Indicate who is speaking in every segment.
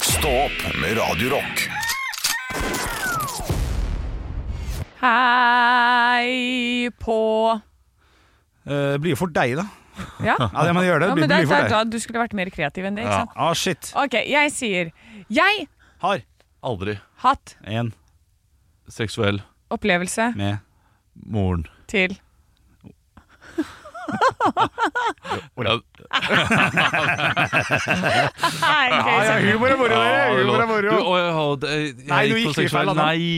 Speaker 1: Stå opp med Radio Rock.
Speaker 2: Hei på
Speaker 3: Eh, blir jo fort deg, da.
Speaker 2: Ja,
Speaker 3: Ja, det må du gjøre. Det
Speaker 2: ja
Speaker 3: blir,
Speaker 2: men det,
Speaker 3: blir fort
Speaker 2: er
Speaker 3: deg.
Speaker 2: da du skulle vært mer kreativ enn det, ikke
Speaker 3: Ja.
Speaker 2: sant?
Speaker 3: Ah, shit.
Speaker 2: Ok, jeg sier Jeg
Speaker 3: Har
Speaker 4: Aldri
Speaker 2: hatt
Speaker 3: en
Speaker 4: seksuell
Speaker 2: opplevelse
Speaker 3: med
Speaker 4: moren.
Speaker 2: til
Speaker 4: Ja,
Speaker 2: Nei, ok,
Speaker 3: Ja, ja,
Speaker 2: så-
Speaker 3: humor er moro,
Speaker 4: ja,
Speaker 3: det. Humor er
Speaker 4: Ah, Du,
Speaker 3: moro.
Speaker 4: å, jeg, hadde- jeg, jeg
Speaker 3: Nei, du
Speaker 4: gikk
Speaker 3: gikk
Speaker 4: på
Speaker 3: litt feil,
Speaker 4: seksuell.
Speaker 3: Adam.
Speaker 4: Nei,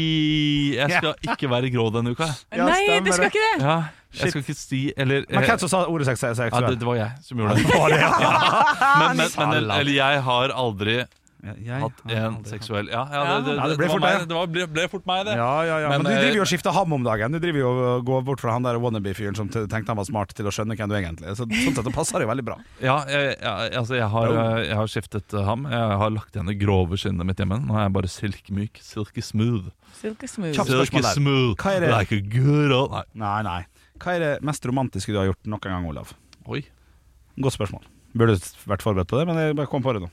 Speaker 4: jeg skal ikke være grå denne uka.
Speaker 3: Ja,
Speaker 2: Nei,
Speaker 3: stemmer
Speaker 2: du skal
Speaker 3: det.
Speaker 2: ikke det!
Speaker 4: Ja, jeg skal ikke si Eller
Speaker 3: Men
Speaker 4: eh,
Speaker 3: hvem som sa ordet sex-
Speaker 4: ja, det,
Speaker 3: seksuell?
Speaker 4: det var jeg som gjorde det.
Speaker 3: Var det, ja?
Speaker 4: Men, men, men
Speaker 3: Salam.
Speaker 4: eller jeg har aldri
Speaker 3: Jeg
Speaker 4: hatt
Speaker 3: har
Speaker 4: en
Speaker 3: aldri-
Speaker 4: seksuell Ja, ja det, det,
Speaker 3: Ja, det
Speaker 4: det,
Speaker 3: ble
Speaker 4: var
Speaker 3: fort
Speaker 4: meg,
Speaker 3: deg.
Speaker 4: det var, ble, ble fort meg, det.
Speaker 3: Ja, ja, ja. Men,
Speaker 4: Men,
Speaker 3: du
Speaker 4: eh,
Speaker 3: driver jo og skifter ham om dagen. Du driver jo og går bort fra han der wannabe-fyren som t- tenkte han var smart til å skjønne hvem du egentlig er. Så, sånn sett det passer det jo veldig bra.
Speaker 4: Ja, jeg, jeg, altså jeg, har,
Speaker 3: Jo.
Speaker 4: jeg har skiftet eh, ham. Jeg har lagt igjen det grove skinnet mitt hjemme. Nå er jeg bare silkemyk. Silky smooth.
Speaker 2: Silke smooth.
Speaker 3: Kjapt. spørsmål
Speaker 4: Silky
Speaker 3: der.
Speaker 4: smooth.
Speaker 3: Hva er det-
Speaker 4: Like a good old Nei.
Speaker 3: Nei, nei. Hva er det mest romantiske du har gjort noen gang, Olav?
Speaker 4: Oi.
Speaker 3: Godt spørsmål. Burde vært forberedt på det, men jeg bare kom på det nå.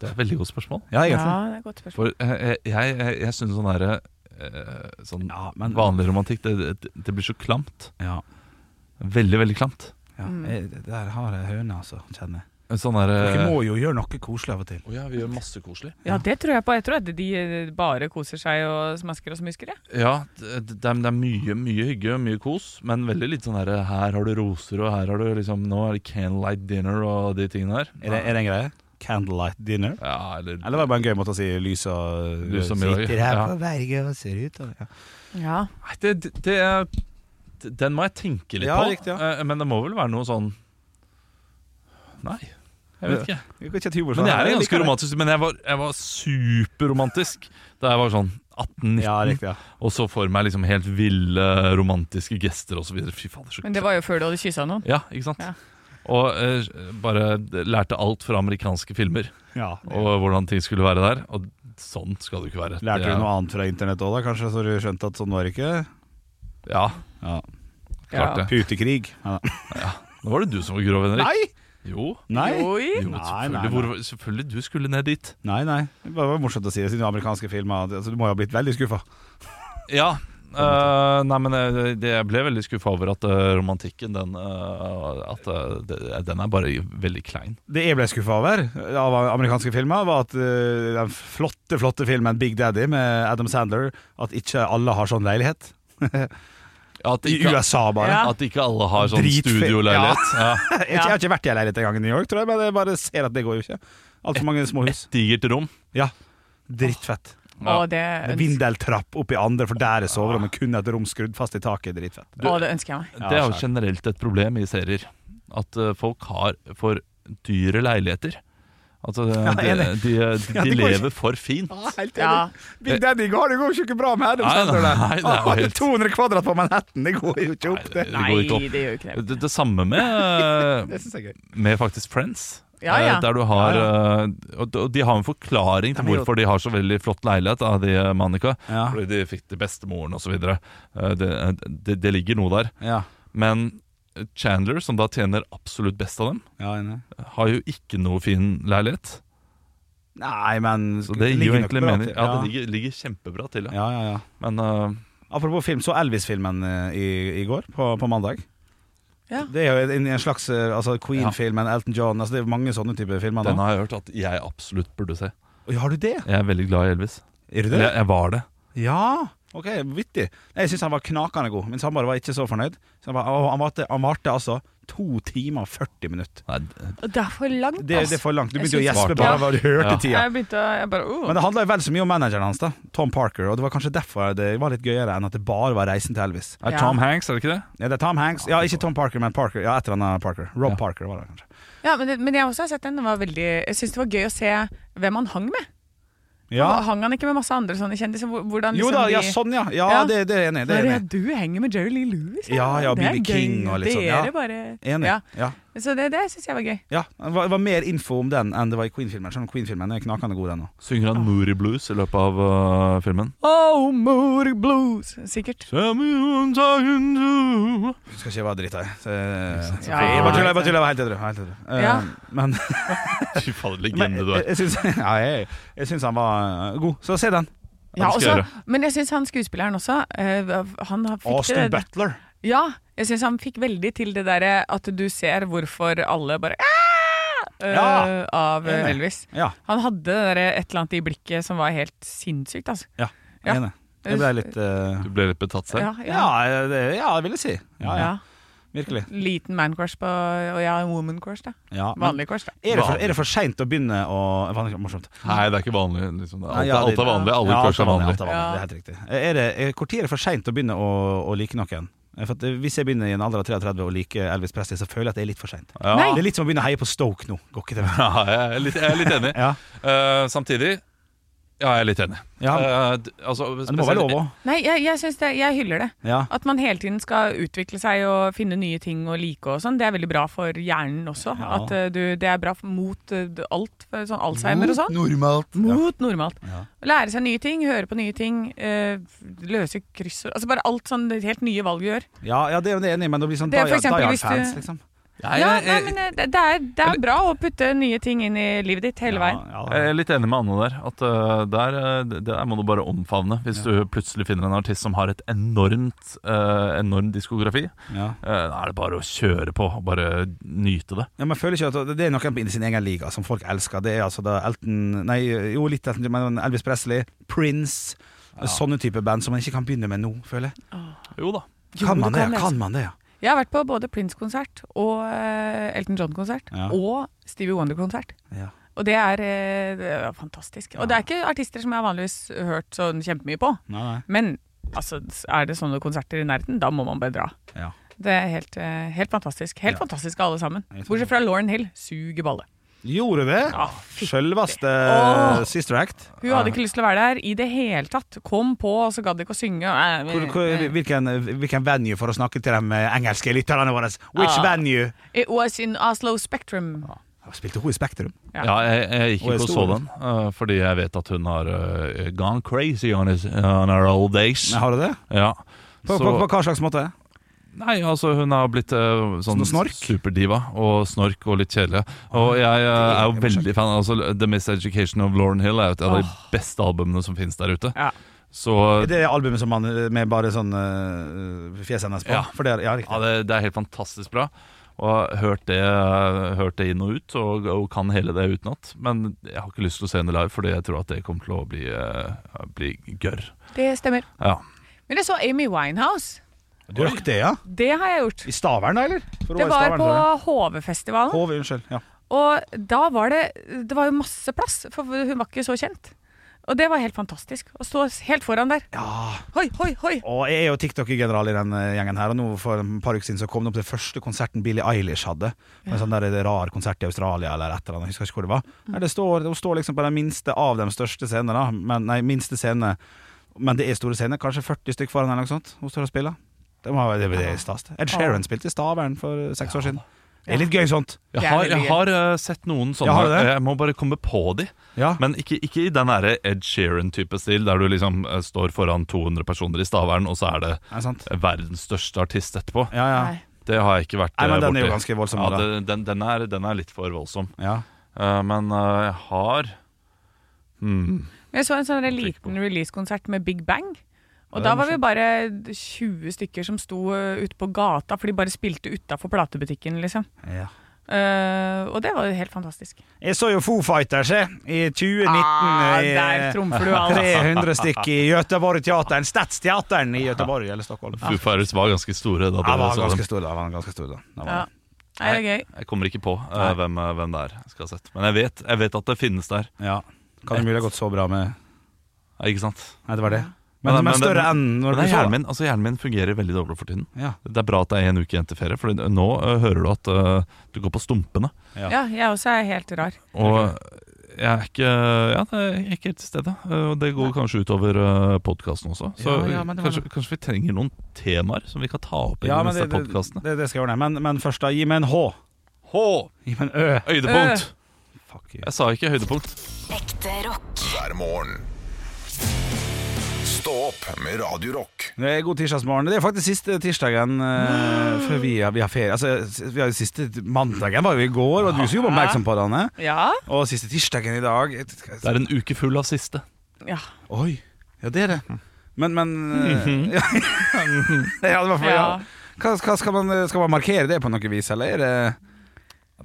Speaker 4: Det er et veldig godt spørsmål.
Speaker 3: Ja,
Speaker 2: Ja,
Speaker 3: egentlig.
Speaker 2: det er et godt spørsmål.
Speaker 4: For eh, jeg, jeg, jeg, jeg syns sånn derre eh, Sånn
Speaker 3: Ja, men
Speaker 4: vanlig romantikk, det, det, det blir så klamt.
Speaker 3: Ja,
Speaker 4: Veldig, veldig klamt.
Speaker 3: ja. Eh, Jeg, der har jeg høne, altså, kjenner jeg.
Speaker 4: Sånn derre
Speaker 3: Dere må jo gjøre noe koselig av og til.
Speaker 4: Å ja, vi gjør masse koselig.
Speaker 2: Ja, det tror jeg på. Jeg tror at de eh, bare koser seg og smasker og smusker. jeg.
Speaker 4: Ja, det, det, er, det er mye mye hygge og mye kos, men veldig litt sånn derre Her har du roser, og her har du liksom Nå er det candlelight dinner og de tingene der.
Speaker 3: Er det, er det en greie? Candlelight dinner?
Speaker 4: Ja, eller
Speaker 3: Eller var det bare en gøy måte å si lys og eh,
Speaker 4: Lys og mye.
Speaker 3: Sitter her
Speaker 4: Ja.
Speaker 3: på berget og ser ut og ja.
Speaker 2: Ja.
Speaker 4: Nei, det, det, det er Den må jeg tenke litt
Speaker 3: Ja,
Speaker 4: på.
Speaker 3: riktig,
Speaker 4: Eh, Men det må vel være noe sånn Nei, jeg vet ikke.
Speaker 3: Det er ikke et humor, sånn.
Speaker 4: Men jeg er
Speaker 3: Jeg
Speaker 4: ganske
Speaker 3: liker det.
Speaker 4: romantisk. Men jeg var, jeg var superromantisk da jeg var sånn 18-19.
Speaker 3: Ja, riktig. Ja.
Speaker 4: og så for meg liksom helt ville romantiske gester osv. Fy fader, så
Speaker 2: Men det var jo før du hadde kyssa noen.
Speaker 4: Ja, ikke sant?
Speaker 2: Ja.
Speaker 4: Og eh, bare lærte alt fra amerikanske filmer
Speaker 3: Ja,
Speaker 4: og hvordan ting skulle være der. Og sånn skal det jo ikke være.
Speaker 3: Lærte
Speaker 4: Det
Speaker 3: du
Speaker 4: er-
Speaker 3: noe annet fra internett òg, da, kanskje, så du skjønte at sånn var det ikke?
Speaker 4: Ja,
Speaker 3: Ja.
Speaker 4: klart det.
Speaker 3: Putekrig. Ja.
Speaker 4: Nå var det du som var grov, Henrik.
Speaker 3: Nei!
Speaker 4: Jo,
Speaker 3: Nei.
Speaker 2: Oi!
Speaker 4: jo
Speaker 3: Nei, nei,
Speaker 4: selvfølgelig,
Speaker 3: nei.
Speaker 4: Hvor, selvfølgelig du skulle ned dit.
Speaker 3: nei, nei. Det var bare morsomt å si det, siden amerikanske filmer altså, Du må jo ha blitt veldig skuffa.
Speaker 4: Ja. eh, nei, men jeg, det, jeg ble veldig skuffa over at eh, romantikken, den, eh, at, eh, det- den er bare veldig klein.
Speaker 3: Det jeg ble skuffa over av amerikanske filmer, var at eh, den flotte flotte filmen Big Daddy med Adam Sandler At ikke alle har sånn leilighet.
Speaker 4: Ja, At
Speaker 3: I
Speaker 4: ikke,
Speaker 3: USA, bare.
Speaker 2: Ja.
Speaker 4: at ikke alle har sånn
Speaker 3: Dritfil-
Speaker 4: studioleilighet. Ja.
Speaker 3: Jeg, jeg har ikke vært i ei leilighet engang i New York, tror jeg, men jeg bare ser at det går jo ikke. Altfor mange små hus.
Speaker 4: Digert rom.
Speaker 3: Ja. Drittfett.
Speaker 4: Ja.
Speaker 2: Og det, øns
Speaker 3: Vindeltrapp oppi andre, for der er soverommet. Kun et rom skrudd fast i taket. Drittfett.
Speaker 2: å, det ønsker jeg meg.
Speaker 4: Det er jo generelt et problem i serier. At eh, folk har for dyre leiligheter. Altså, de, de,
Speaker 3: enig.
Speaker 4: de,
Speaker 3: Ja, det går ikke.
Speaker 4: lever for fint.
Speaker 3: Helt
Speaker 2: Ja.
Speaker 3: Big Daddy går, det går jo ikke bra med Adam
Speaker 4: Nei,
Speaker 3: Sandler. der.
Speaker 4: nei, det er jo
Speaker 3: Han har
Speaker 4: helt-
Speaker 3: 200 kvadrat på Manhattan, det går jo ikke opp, det.
Speaker 4: Det
Speaker 2: Nei,
Speaker 4: går
Speaker 2: det
Speaker 4: ikke
Speaker 2: gjør
Speaker 4: opp.
Speaker 2: jo ikke det.
Speaker 4: Det, det samme med,
Speaker 3: Det synes jeg er gøy.
Speaker 4: med faktisk Friends.
Speaker 2: Ja, ja.
Speaker 4: Eh, Der du har eh, og- Og de har en forklaring til
Speaker 3: men jo- Ah.
Speaker 4: hvorfor de har så veldig flott leilighet, av de eh, Monica.
Speaker 3: Ja.
Speaker 4: Fordi de fikk til bestemoren osv. Eh, Det, det, det ligger noe der.
Speaker 3: Ja,
Speaker 4: Men Chandler, som da tjener absolutt best av dem,
Speaker 3: ja enig.
Speaker 4: har jo ikke noe fin leilighet.
Speaker 3: Nei, men
Speaker 4: Så det gir jo
Speaker 3: ligger nok
Speaker 4: egentlig
Speaker 3: bra
Speaker 4: mening.
Speaker 3: til.
Speaker 4: Ja, det ligger, ligger kjempebra til, ja.
Speaker 3: ja, ja, ja.
Speaker 4: Men øh,
Speaker 3: Apropos film, så Elvis-filmen eh, i, i går, på, på mandag.
Speaker 2: Ja.
Speaker 3: Det er jo en, en slags eh, altså Queen-filmen, Elton John altså Det er mange sånne typer filmer.
Speaker 4: den
Speaker 3: Da.
Speaker 4: har jeg hørt at jeg absolutt burde se.
Speaker 3: Oi, Har du det?
Speaker 4: Jeg er veldig glad i Elvis.
Speaker 3: Er du
Speaker 4: Eller
Speaker 3: det?
Speaker 4: jeg, jeg var det.
Speaker 3: Ja! Ok, Vittig. Jeg syns han var knakende god. Min samboer var ikke så fornøyd. Så han, var, og han, varte, han varte altså to timer og 40 minutter.
Speaker 4: Nei, d-
Speaker 2: Og Det er for langt,
Speaker 3: Det, det er
Speaker 2: ass.
Speaker 3: for langt. Du
Speaker 2: Jeg
Speaker 3: begynte å
Speaker 2: synes-
Speaker 3: gjespe bare
Speaker 2: Ja.
Speaker 3: hva du hørte
Speaker 4: Ja.
Speaker 3: tida.
Speaker 2: Jeg begynte å jeg bare, oh.
Speaker 3: Men det handla vel så mye om manageren hans, da Tom Parker. Og det var kanskje derfor det var litt gøyere enn at det bare var reisen til Elvis.
Speaker 4: er
Speaker 2: Ja.
Speaker 4: Tom Hanks, er det ikke det?
Speaker 3: Ja, det er Tom Hanks Ja, ikke Tom Parker, men Parker. Ja, et eller annet Parker. Rob Parker var det kanskje.
Speaker 2: Ja, men, det, men jeg også har sett den. den var veldig, jeg syns det var gøy å se hvem han hang med.
Speaker 3: Ja.
Speaker 2: Hang han ikke med masse andre sånne kjendiser? Hvor- Hvordan
Speaker 3: Jo
Speaker 2: liksom
Speaker 3: da, ja,
Speaker 2: de
Speaker 3: sånn, ja. Ja,
Speaker 2: Ja.
Speaker 3: Det, det er jeg enig. i, Det er
Speaker 2: Bare,
Speaker 3: jeg
Speaker 2: ja,
Speaker 3: enig.
Speaker 2: du henger med Jerry Lee Lewis?
Speaker 3: Ja, ja,
Speaker 2: Det er
Speaker 3: BB King og litt sånn, ja.
Speaker 2: Dere bare
Speaker 3: i. Enig.
Speaker 2: Ja.
Speaker 3: Ja.
Speaker 2: Så det, det syns jeg var gøy.
Speaker 3: Ja, det var, det var mer info om den enn det var i Queen-filmen. Selv om Queen-filmen er knakende god, den òg.
Speaker 4: Synger han Moody Blues i løpet av eh, filmen?
Speaker 2: Oh, Moody Blues! Sikkert.
Speaker 3: Skal ikke være dritt, jeg. Så-
Speaker 2: Ja.
Speaker 3: Jeg bare tuller, jeg bare tuller. jeg var Helt edru. Helt edru. Eh,
Speaker 2: Ja.
Speaker 3: Men,
Speaker 4: Fy
Speaker 3: men
Speaker 4: faen, legende du
Speaker 3: jeg,
Speaker 4: er.
Speaker 3: jeg syns ja, jeg, jeg syns han var eh, god, så se den.
Speaker 2: Ja,
Speaker 4: det skal jeg
Speaker 2: også, men jeg syns han skuespilleren også eh, han har- fikk
Speaker 3: Austin
Speaker 2: det-
Speaker 3: Butler.
Speaker 2: Ja, jeg syns han fikk veldig til det derre at du ser hvorfor alle bare «Ah!» eh,
Speaker 3: Ja.
Speaker 2: av eh,
Speaker 3: Enig.
Speaker 2: Elvis.
Speaker 3: Ja,
Speaker 2: Han hadde det derre et eller annet i blikket som var helt sinnssykt, altså. Ja.
Speaker 3: enig. Jeg ble litt eh,
Speaker 4: Du ble litt betatt selv.
Speaker 2: Ja, ja.
Speaker 3: ja, det, ja, det vil jeg si. Ja, ja,
Speaker 2: Ja.
Speaker 3: Virkelig.
Speaker 2: Liten man crush på Og ja, woman crush, da.
Speaker 3: Ja, men
Speaker 2: Vanlig crush, da.
Speaker 3: er det for, er det for seint å begynne å Faen, det er Morsomt.
Speaker 4: Nei, det er ikke vanlig. Liksom. Alt,
Speaker 3: Nei, ja, det-
Speaker 4: alt er vanlig. Alle
Speaker 3: Ja,
Speaker 4: crush
Speaker 3: alt
Speaker 4: er vanlig.
Speaker 3: alt er vanlig. Det er helt riktig. Er det, er, hvor tid er det for seint å begynne å, å like noen? Eh, For at eh, Hvis jeg begynner i en alder av 33 å like Elvis Presley, så føler jeg at det er litt for seint.
Speaker 4: Ja.
Speaker 3: Det er litt som å begynne å heie på Stoke nå. Går ikke det?
Speaker 4: Ja, jeg, er litt, jeg er litt enig.
Speaker 3: Ja.
Speaker 4: Eh, samtidig Ja, jeg er litt enig.
Speaker 3: Ja.
Speaker 4: Eh, d- altså,
Speaker 3: Men det må være lov òg.
Speaker 2: Nei, jeg, jeg, synes det, jeg hyller det.
Speaker 3: Ja.
Speaker 2: At man hele tiden skal utvikle seg og finne nye ting og like og sånn, det er veldig bra for hjernen også.
Speaker 3: Ja.
Speaker 2: At eh, du, det er bra for- mot eh, alt, for sånn Alzheimer og sånn.
Speaker 4: Normalt.
Speaker 2: Mot normalt.
Speaker 3: Ja.
Speaker 2: Lære seg nye ting, høre på nye ting, eh, løse kryssord Altså bare alt sånn helt nye valg du gjør.
Speaker 3: Ja, ja, det er jeg enig i, men det blir sånn
Speaker 2: Det er
Speaker 3: Die
Speaker 2: for eksempel hvis du-
Speaker 3: Hard-fans, liksom.
Speaker 2: Ja, nei, men eh, det, det, er, det
Speaker 4: Eller-
Speaker 2: er bra å putte nye ting inn i livet ditt hele veien.
Speaker 3: Ja,
Speaker 4: Jeg
Speaker 3: ja.
Speaker 4: er litt enig med Anne der. At eh, der, eh, det- der må du bare omfavne. Hvis du plutselig finner en artist som har et enormt eh, enorm diskografi,
Speaker 3: Ja.
Speaker 4: eh, da er det bare å kjøre på og bare nyte det.
Speaker 3: Ja, men jeg føler ikke at Det er noen i sin egen liga som folk elsker. Det er altså da Elton Nei, jo, litt Elton, men Elvis Presley, Prince Sånne type band som man ikke kan begynne med nå, føler jeg.
Speaker 4: Jo da.
Speaker 2: Jo,
Speaker 3: Kan
Speaker 2: du
Speaker 3: man det?
Speaker 2: kan
Speaker 3: ja?
Speaker 2: det.
Speaker 3: Kan man det, ja?
Speaker 2: Jeg har vært på både Prince-konsert og eh, Elton John-konsert.
Speaker 3: Ja.
Speaker 2: Og Stevie Wonder-konsert.
Speaker 3: Ja.
Speaker 2: Og det er, eh, det er fantastisk. Og det er ikke artister som jeg har vanligvis hørt sånn kjempemye på.
Speaker 3: Nei, nei.
Speaker 2: Men altså, er det sånne konserter i nærheten, da må man bare dra.
Speaker 3: Ja.
Speaker 2: Det er helt, eh, helt fantastisk. Helt
Speaker 3: Ja.
Speaker 2: fantastisk alle sammen.
Speaker 3: Jeg tror
Speaker 2: Bortsett fra Lauren Hill. Suger balle.
Speaker 3: Gjorde det?
Speaker 2: Ja, fy-
Speaker 3: Sjølveste
Speaker 2: Åh.
Speaker 3: Sister Act.
Speaker 2: Hun hadde ikke lyst til å være der i det hele tatt. Kom på, og så gadd ikke å synge. Eh,
Speaker 3: Hvor, hvor, hvilken, hvilken venue for å snakke til de engelske lytterne våre? Which
Speaker 2: Ah.
Speaker 3: venue?
Speaker 2: It was in Oslo Spectrum.
Speaker 3: Spilte hun i Spektrum?
Speaker 2: Ja.
Speaker 4: Ja, jeg, jeg gikk
Speaker 3: Og er
Speaker 4: ikke og så
Speaker 3: stor.
Speaker 4: den, eh, fordi jeg vet at hun har eh, gone crazy on, his, on her old days.
Speaker 3: Nei, Har du det?
Speaker 4: Ja.
Speaker 3: På, på, på hva slags måte?
Speaker 4: Nei, altså hun har blitt eh,
Speaker 3: Sånn
Speaker 4: sånn
Speaker 3: snork?
Speaker 4: superdiva og snork og litt kjedelig. Og jeg eh, er jo veldig fan. Altså, The Miseducation of Lauren Hill er jo et av de beste albumene som finnes der ute.
Speaker 2: Ja.
Speaker 4: Så eh,
Speaker 3: Er Det albumet som man med bare sånn eh, fjeset hennes på?
Speaker 4: Ja.
Speaker 3: For det er, ja, riktig.
Speaker 4: ja, det, det er helt fantastisk bra. Og jeg har hørt det, eh, hørt det inn og ut, og, og kan hele det utenat. Men jeg har ikke lyst til å se henne live, fordi jeg tror at det kommer til å bli, eh, bli gørr.
Speaker 2: Det stemmer.
Speaker 4: Ja.
Speaker 2: Men jeg så Amy Winehouse.
Speaker 3: Du rakk det, ja?
Speaker 2: Det har jeg gjort.
Speaker 3: I Stavern, da, eller? For hun
Speaker 2: Det
Speaker 3: i
Speaker 2: var
Speaker 3: Stavern,
Speaker 2: på
Speaker 3: tror jeg.
Speaker 2: HV-festivalen.
Speaker 3: Hov, unnskyld. Ja.
Speaker 2: Og da var det Det var jo masse plass, for hun var ikke så kjent. Og det var helt fantastisk. Å stå helt foran der. Hoi, hoi, hoi!
Speaker 3: Og jeg er jo TikTok-general i den eh, gjengen her, og nå for et par uker siden så kom det opp til første konserten Billie Eilish hadde. På En sånn der rar konsert i Australia eller et eller annet, jeg husker ikke hvor det var. Nei, det står, hun står liksom på den minste av de største scenene, da. Men, nei, minste scene. Men det er store scener, kanskje 40 stykk foran eller noe sånt. Hun står og spiller. Det må være det, det er stas. Ed Sheeran spilte i Stavern for seks år siden. Det er litt gøy sånt.
Speaker 4: Jeg
Speaker 2: Det er
Speaker 4: har,
Speaker 2: veldig
Speaker 4: jeg har eh, sett noen
Speaker 3: Ja,
Speaker 4: sånne.
Speaker 3: har du det?
Speaker 4: Jeg må bare komme på de.
Speaker 3: Ja.
Speaker 4: Men ikke, ikke i den derre Ed Sheeran-type stil, der du liksom eh, står foran 200 personer i Stavern, og så er det
Speaker 3: Er det sant?
Speaker 4: verdens største artist etterpå.
Speaker 3: Ja, ja.
Speaker 2: Nei.
Speaker 4: Det har jeg ikke vært
Speaker 3: Nei, men
Speaker 4: eh,
Speaker 3: den er jo
Speaker 4: borti.
Speaker 3: ganske voldsom,
Speaker 4: Ja,
Speaker 3: da.
Speaker 4: den, den, den, er, den er litt for voldsom.
Speaker 3: ja.
Speaker 4: Eh, men eh, jeg har hmm.
Speaker 2: Men Jeg så en sånn der
Speaker 4: tenker på.
Speaker 2: liten release-konsert med Big Bang. Og
Speaker 4: Ja, det er
Speaker 2: da var vi bare 20 stykker som sto eh, ute på gata, for de bare spilte utafor platebutikken, liksom.
Speaker 3: ja.
Speaker 2: Eh, og det var jo helt fantastisk.
Speaker 3: Jeg så jo Foo Fighters jeg, i eh, 2019.
Speaker 2: Ah,
Speaker 3: i,
Speaker 2: der trumfer du alt.
Speaker 3: 300 stykk i Göteborg Teateren. Stadsteateren i Göteborg eller Stockholm.
Speaker 4: Foo Fighters var ganske store da
Speaker 3: Ja, det
Speaker 4: dere
Speaker 3: var
Speaker 4: så
Speaker 3: ganske
Speaker 4: dem.
Speaker 3: stor, da. det var ganske stor, da. Det var-
Speaker 2: Ja. Nei, det er gøy.
Speaker 4: Jeg kommer ikke på eh, hvem, eh, hvem det er. jeg Skal ha sett. Men jeg vet, jeg vet at det finnes der.
Speaker 3: ja. Kan det mulig ha gått så bra med
Speaker 4: Ja, Ikke sant?
Speaker 3: Nei, det var det. Men, men,
Speaker 4: Men- men-
Speaker 3: større enn når
Speaker 4: Men
Speaker 3: du
Speaker 4: det er
Speaker 3: så
Speaker 4: hjernen,
Speaker 3: det.
Speaker 4: min, altså hjernen min fungerer veldig dårlig for tiden.
Speaker 3: Ja.
Speaker 4: Det er bra at det er en uke igjen til ferie, for nå eh, hører du at eh, du går på stumpene.
Speaker 3: Ja.
Speaker 2: Ja, jeg også er helt rar.
Speaker 4: Og jeg er ikke, ja, det er ikke helt til stede. Eh, Og det går kanskje utover podkasten også. Så
Speaker 3: Ja, ja, men det var
Speaker 4: kanskje, kanskje vi trenger noen temaer som vi kan ta opp i
Speaker 3: Ja,
Speaker 4: de
Speaker 3: men
Speaker 4: neste
Speaker 3: det, det,
Speaker 4: podkastene.
Speaker 3: det, det skal jeg ordne. Men, men først, da. Gi meg en H.
Speaker 4: H!
Speaker 3: Gi meg en Ø.
Speaker 4: Høydepunkt!
Speaker 3: Fuck you.
Speaker 4: Jeg sa ikke høydepunkt.
Speaker 5: Ekte rock.
Speaker 1: hver morgen. Stå opp med Radio Rock.
Speaker 3: Det er god tirsdagsmorgen. Det er faktisk siste tirsdagen eh, før vi, har- vi har ferie. Altså, s- vi har jo siste mandagen var jo i går, og du som gjorde oppmerksom på det, Anne.
Speaker 2: Ja.
Speaker 3: Og siste tirsdagen i dag
Speaker 4: Det er en uke full av siste.
Speaker 2: ja.
Speaker 3: Oi. Ja, det er det. Men, men eh,
Speaker 4: Mhm.
Speaker 3: ja, det var for, ja.
Speaker 2: Ja.
Speaker 3: Hva, hva skal, man, skal man markere det på noe vis, eller? Er det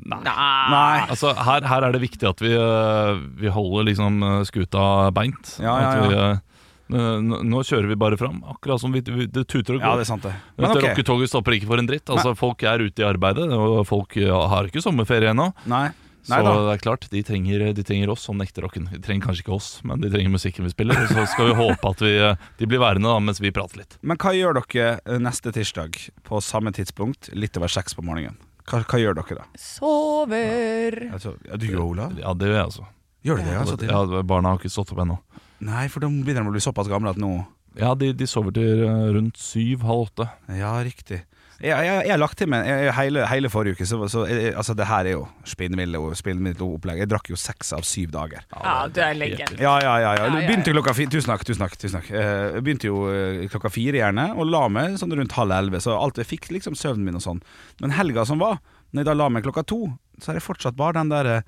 Speaker 3: Nei.
Speaker 4: Altså, her, her er det viktig at vi, eh, vi holder liksom eh, skuta beint.
Speaker 3: Ja, ja,
Speaker 4: At vi, eh, n- n- nå kjører vi bare fram, akkurat som vi, vi, det tuter og
Speaker 3: Ja,
Speaker 4: går.
Speaker 3: det er sant, det. Men
Speaker 4: Dette
Speaker 3: ok.
Speaker 4: rocketoget stopper ikke for en dritt. Altså, folk er ute i arbeidet, og folk eh, har ikke sommerferie ennå.
Speaker 3: Nei.
Speaker 4: Så
Speaker 3: Nei da.
Speaker 4: det er klart, de trenger, eh, de trenger oss som nekterrocken. De trenger kanskje ikke oss, men de trenger musikken vi spiller. Og så skal vi håpe at vi, eh, de blir værende da, mens vi prater litt.
Speaker 3: Men hva gjør dere eh, neste tirsdag på samme tidspunkt, litt over seks på morgenen? Hva, hva gjør dere da?
Speaker 2: Sover.
Speaker 3: Altså, ja, du gjør Olav?
Speaker 4: Ja, det gjør jeg altså.
Speaker 3: Gjør du det? Altså,
Speaker 4: Ja, barna har ikke stått opp ennå.
Speaker 3: Nei, for da begynner de å bli såpass gamle at nå
Speaker 4: Ja, de, de sover til eh, rundt syv-halv åtte.
Speaker 3: Ja, riktig. Jeg, jeg, jeg har lagt til meg jeg, hele, hele forrige uke, så, så jeg, altså, det her er jo spinnville og spinnvilt opplegg. Jeg drakk jo seks av syv dager.
Speaker 2: Ja, du er legend.
Speaker 3: Ja, ja, ja. ja.
Speaker 2: Ja, ja, ja.
Speaker 3: Begynte klokka fire Tusen takk, tusen takk. tusen takk Eh, Jeg begynte jo eh, klokka fire gjerne, og la meg sånn rundt halv elleve. Så alt jeg fikk liksom søvnen min og sånn. Men helga som var, når jeg da la meg klokka to, så er det fortsatt bare den derre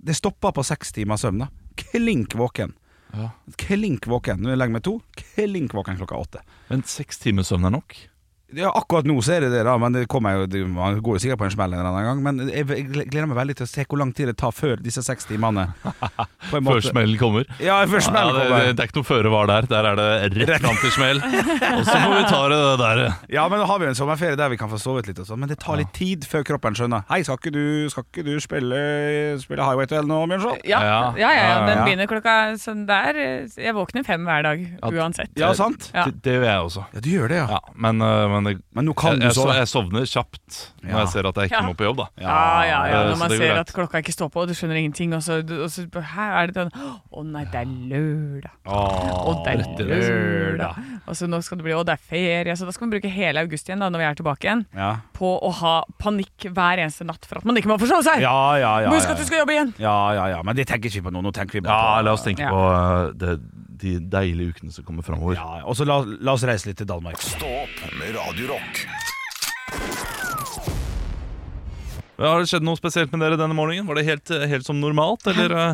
Speaker 3: Det stoppa på seks timer søvn, da. Klink våken.
Speaker 4: Ja.
Speaker 3: Klink våken. Når jeg legger meg to, klink våken klokka åtte.
Speaker 4: Men seks timers søvn er nok?
Speaker 3: Ja, akkurat nå så er det det, da, men det kommer jo, det, man går jo sikkert på en smell en eller annen gang. Men jeg, jeg gleder meg veldig til å se hvor lang tid det tar før disse seks timene. På en måte-
Speaker 4: Før smellen kommer?
Speaker 3: Ja, før smell
Speaker 4: det,
Speaker 3: kommer.
Speaker 4: det, det er ikke noe føre var der. Der er det rett fram til smell. Og så må vi ta det der.
Speaker 3: Ja, men da har vi jo en sommerferie der vi kan få sovet litt og sånn, men det tar litt tid før kroppen skjønner. Hei, skal ikke du, skal ikke du spille, spille Highway to Hell nå, Bjørnson?
Speaker 4: Eh,
Speaker 2: Ja, ja,
Speaker 4: Ja.
Speaker 2: ja, ja.
Speaker 3: Ja,
Speaker 2: Den
Speaker 3: ja.
Speaker 2: begynner klokka sånn der. Jeg våkner fem hver dag,
Speaker 4: Ja.
Speaker 2: uansett.
Speaker 3: Ja, sant?
Speaker 2: Ja.
Speaker 4: Det, det gjør jeg også.
Speaker 3: Ja, du gjør det, ja.
Speaker 4: Ja, men, øh, men det,
Speaker 3: Men nå kan
Speaker 4: jeg,
Speaker 3: du
Speaker 4: jeg,
Speaker 3: sove.
Speaker 4: jeg sovner kjapt når
Speaker 3: Ja.
Speaker 4: jeg ser at jeg ikke
Speaker 2: Ja.
Speaker 4: må på jobb, da.
Speaker 2: Ja, ja, ja.
Speaker 4: Eh,
Speaker 2: Når
Speaker 4: så
Speaker 2: man
Speaker 4: det går
Speaker 2: ser
Speaker 4: greit.
Speaker 2: at klokka ikke står på, og du skjønner ingenting, og så, og så Hæ, er det den Å nei, det er lørdag. Å, det
Speaker 4: rett i
Speaker 2: er
Speaker 4: det.
Speaker 2: lørdag. Og så nå skal det bli Å, det er ferie. Så da skal man bruke hele august igjen, da, når vi er tilbake igjen,
Speaker 3: Ja,
Speaker 2: på å ha panikk hver eneste natt for at man ikke må forsove
Speaker 3: ja,
Speaker 2: seg!
Speaker 3: ja. ja, ja.
Speaker 2: Må huske at du skal jobbe igjen!
Speaker 3: Ja, ja, ja, men det tenker ikke vi på nå. Nå tenker vi bare
Speaker 4: Ja,
Speaker 3: på
Speaker 4: la oss tenke
Speaker 2: Ja.
Speaker 4: på øh, det, de deilige ukene som kommer framover.
Speaker 3: Ja, og så la, la oss reise litt til Danmark.
Speaker 1: Stå opp med Radio Rock.
Speaker 4: Har det skjedd noe spesielt med dere denne morgenen? Var det helt, eh, helt som normalt, eller øh,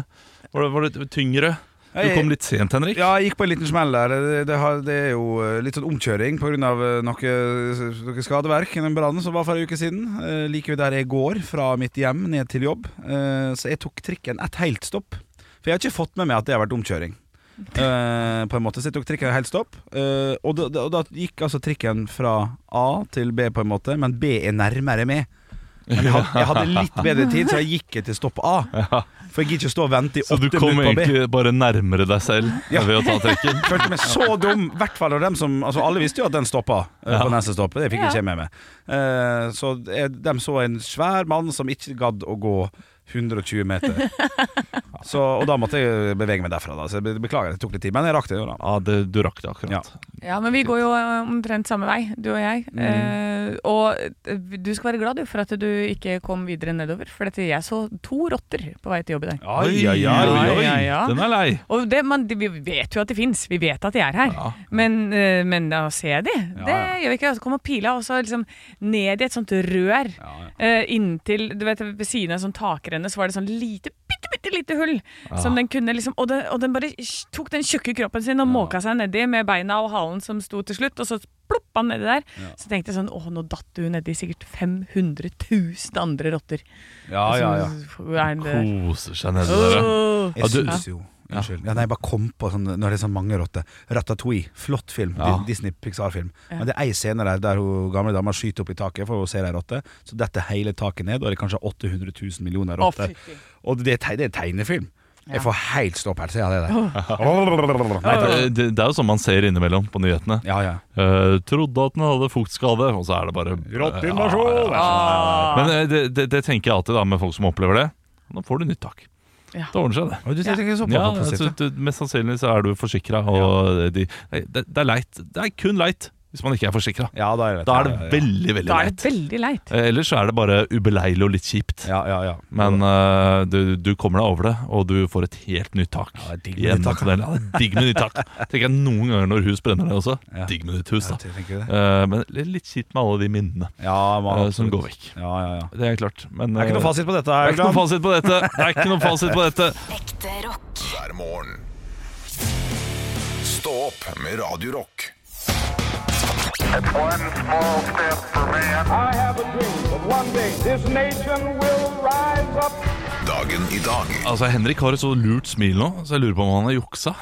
Speaker 4: var, det, var det tyngre? Du
Speaker 3: Jeg-
Speaker 4: kom litt sent, Henrik.
Speaker 3: Ja, jeg gikk på en liten smell der. Det, det, har, det er jo eh, litt sånn omkjøring pga. eh, Noe, noe skadeverk i den brannen som var for en uke siden. Eh, like ved der jeg går fra mitt hjem ned til jobb. Eh, så jeg tok trikken et helt stopp. For jeg har ikke fått med meg at det har vært omkjøring. Eh, på en måte Så jeg tok trikken et helt stopp. Eh, og, da, da, og da gikk altså trikken fra A til B, på en måte, men B er nærmere med. Men jeg hadde, jeg hadde litt bedre tid, så jeg gikk til stopp A. For jeg gidder ikke å stå og vente i
Speaker 4: Så du
Speaker 3: åtte
Speaker 4: kom
Speaker 3: minutter på B.
Speaker 4: egentlig bare nærmere deg selv
Speaker 3: Ja.
Speaker 4: ved å ta trekken?
Speaker 3: Følte meg så dum. I hvert fall av dem som altså Alle visste jo at den stoppa eh, på neste stopp. Det fikk jeg ikke med meg. Eh, så eh, dem så en svær mann som ikke gadd å gå 120 meter. Så, og da måtte jeg bevege meg derfra. Da. Så jeg be- beklager, det tok litt tid. Men jeg rakk det jo, da.
Speaker 4: Ja, det, du rakk det akkurat.
Speaker 3: Ja.
Speaker 2: Ja, men vi går jo eh, omtrent samme vei, du og jeg. Eh, og eh, du skal være glad du for at du ikke kom videre nedover, for dette, jeg så to rotter på vei til jobb i dag.
Speaker 3: Oi, oi, oi.
Speaker 2: oi. Ja, ja.
Speaker 4: Den er lei.
Speaker 2: Og det, man, de- vi vet jo at de fins, vi vet at de er her.
Speaker 4: Ja.
Speaker 2: Men, eh, men da ser jeg de. Det
Speaker 3: ja.
Speaker 2: gjør vi ikke. Så kommer pila og så liksom ned i et sånt rør. eh, inntil du vet, Ved siden av en sånn takrenne så var det sånn lite, bitte, bitte lite hull. Som den kunne liksom Og den, og den bare sj- tok den tjukke kroppen sin og måka seg nedi med beina og halen som sto til slutt, og så ploppa han nedi der. Så tenkte jeg sånn Å, nå datt du nedi sikkert 500 000 andre rotter. Altså,
Speaker 3: Ja, ja, ja.
Speaker 2: Så er den der.
Speaker 4: Koser seg nedi der. ja.
Speaker 2: Åh.
Speaker 3: Jeg
Speaker 4: du-
Speaker 3: syns jo Unnskyld. Ja, nei, jeg bare kom på sånn, når det er sånn mange rotter. Ratatouille, flott film.
Speaker 4: Ja.
Speaker 3: Di- Disney-Pixar-film. Men det er ei scene der der hun gamle dama skyter opp i taket for hun ser ei rotte. Så detter hele taket ned, og det er kanskje 800 000 millioner
Speaker 2: Å,
Speaker 3: rotter.
Speaker 2: fytti.
Speaker 3: og det er, teg det er tegnefilm. Jeg får helt ståpels av det der. Nei,
Speaker 4: Det,
Speaker 3: takk.
Speaker 4: det, det er jo sånn man ser innimellom på nyhetene.
Speaker 3: Ja, ja.
Speaker 4: Eh, trodde at den hadde fuktskade, og så er det bare Ja, ja, ja. Men eh, det, det, det tenker jeg alltid da med folk som opplever det. Nå får du nytt tak. Det ordner seg, det.
Speaker 3: Oi, Du tenker så
Speaker 4: Ja,
Speaker 3: positivt.
Speaker 4: altså,
Speaker 3: ja.
Speaker 4: du, mest sannsynlig så er du forsikra, og de, det, det er leit. Det er kun leit hvis man ikke er forsikra.
Speaker 3: Ja, da er det,
Speaker 4: Da er det
Speaker 3: ja, ja.
Speaker 4: veldig, veldig
Speaker 2: Da er
Speaker 4: leit.
Speaker 2: det veldig leit.
Speaker 4: Eh, Ellers så er det bare ubeleilig og litt kjipt.
Speaker 3: Ja, ja, ja.
Speaker 4: Men eh, du, du kommer deg over det, og du får et helt nytt tak.
Speaker 3: Ja, det er digg
Speaker 4: i
Speaker 3: med nytt
Speaker 4: enden av
Speaker 3: tak.
Speaker 4: tunnelen. Ja, det er digg med nytt tak. Tenker jeg noen ganger når hus brenner ned også.
Speaker 3: Ja.
Speaker 4: Digg med nytt hus,
Speaker 3: Ja,
Speaker 4: da.
Speaker 3: jeg tenker det.
Speaker 4: Eh, men litt- litt kjipt med alle de minnene
Speaker 3: Ja, man,
Speaker 4: eh, som
Speaker 3: absolutt.
Speaker 4: går vekk.
Speaker 3: Ja, ja, ja.
Speaker 4: Det er klart. Men
Speaker 3: Det er ikke noe
Speaker 4: eh,
Speaker 3: fasit på dette.
Speaker 4: det er ikke noe
Speaker 3: Haugland.
Speaker 4: fasit på dette. Det er ikke noe fasit på dette.
Speaker 5: Ekte rock.
Speaker 1: hver morgen. Stå opp med Radio Rock.
Speaker 6: One small step for man. I have a dream that one day this nation will rise up.
Speaker 1: Dagen i dag
Speaker 4: Altså, Henrik har et så lurt smil nå, så jeg lurer på om han har juksa.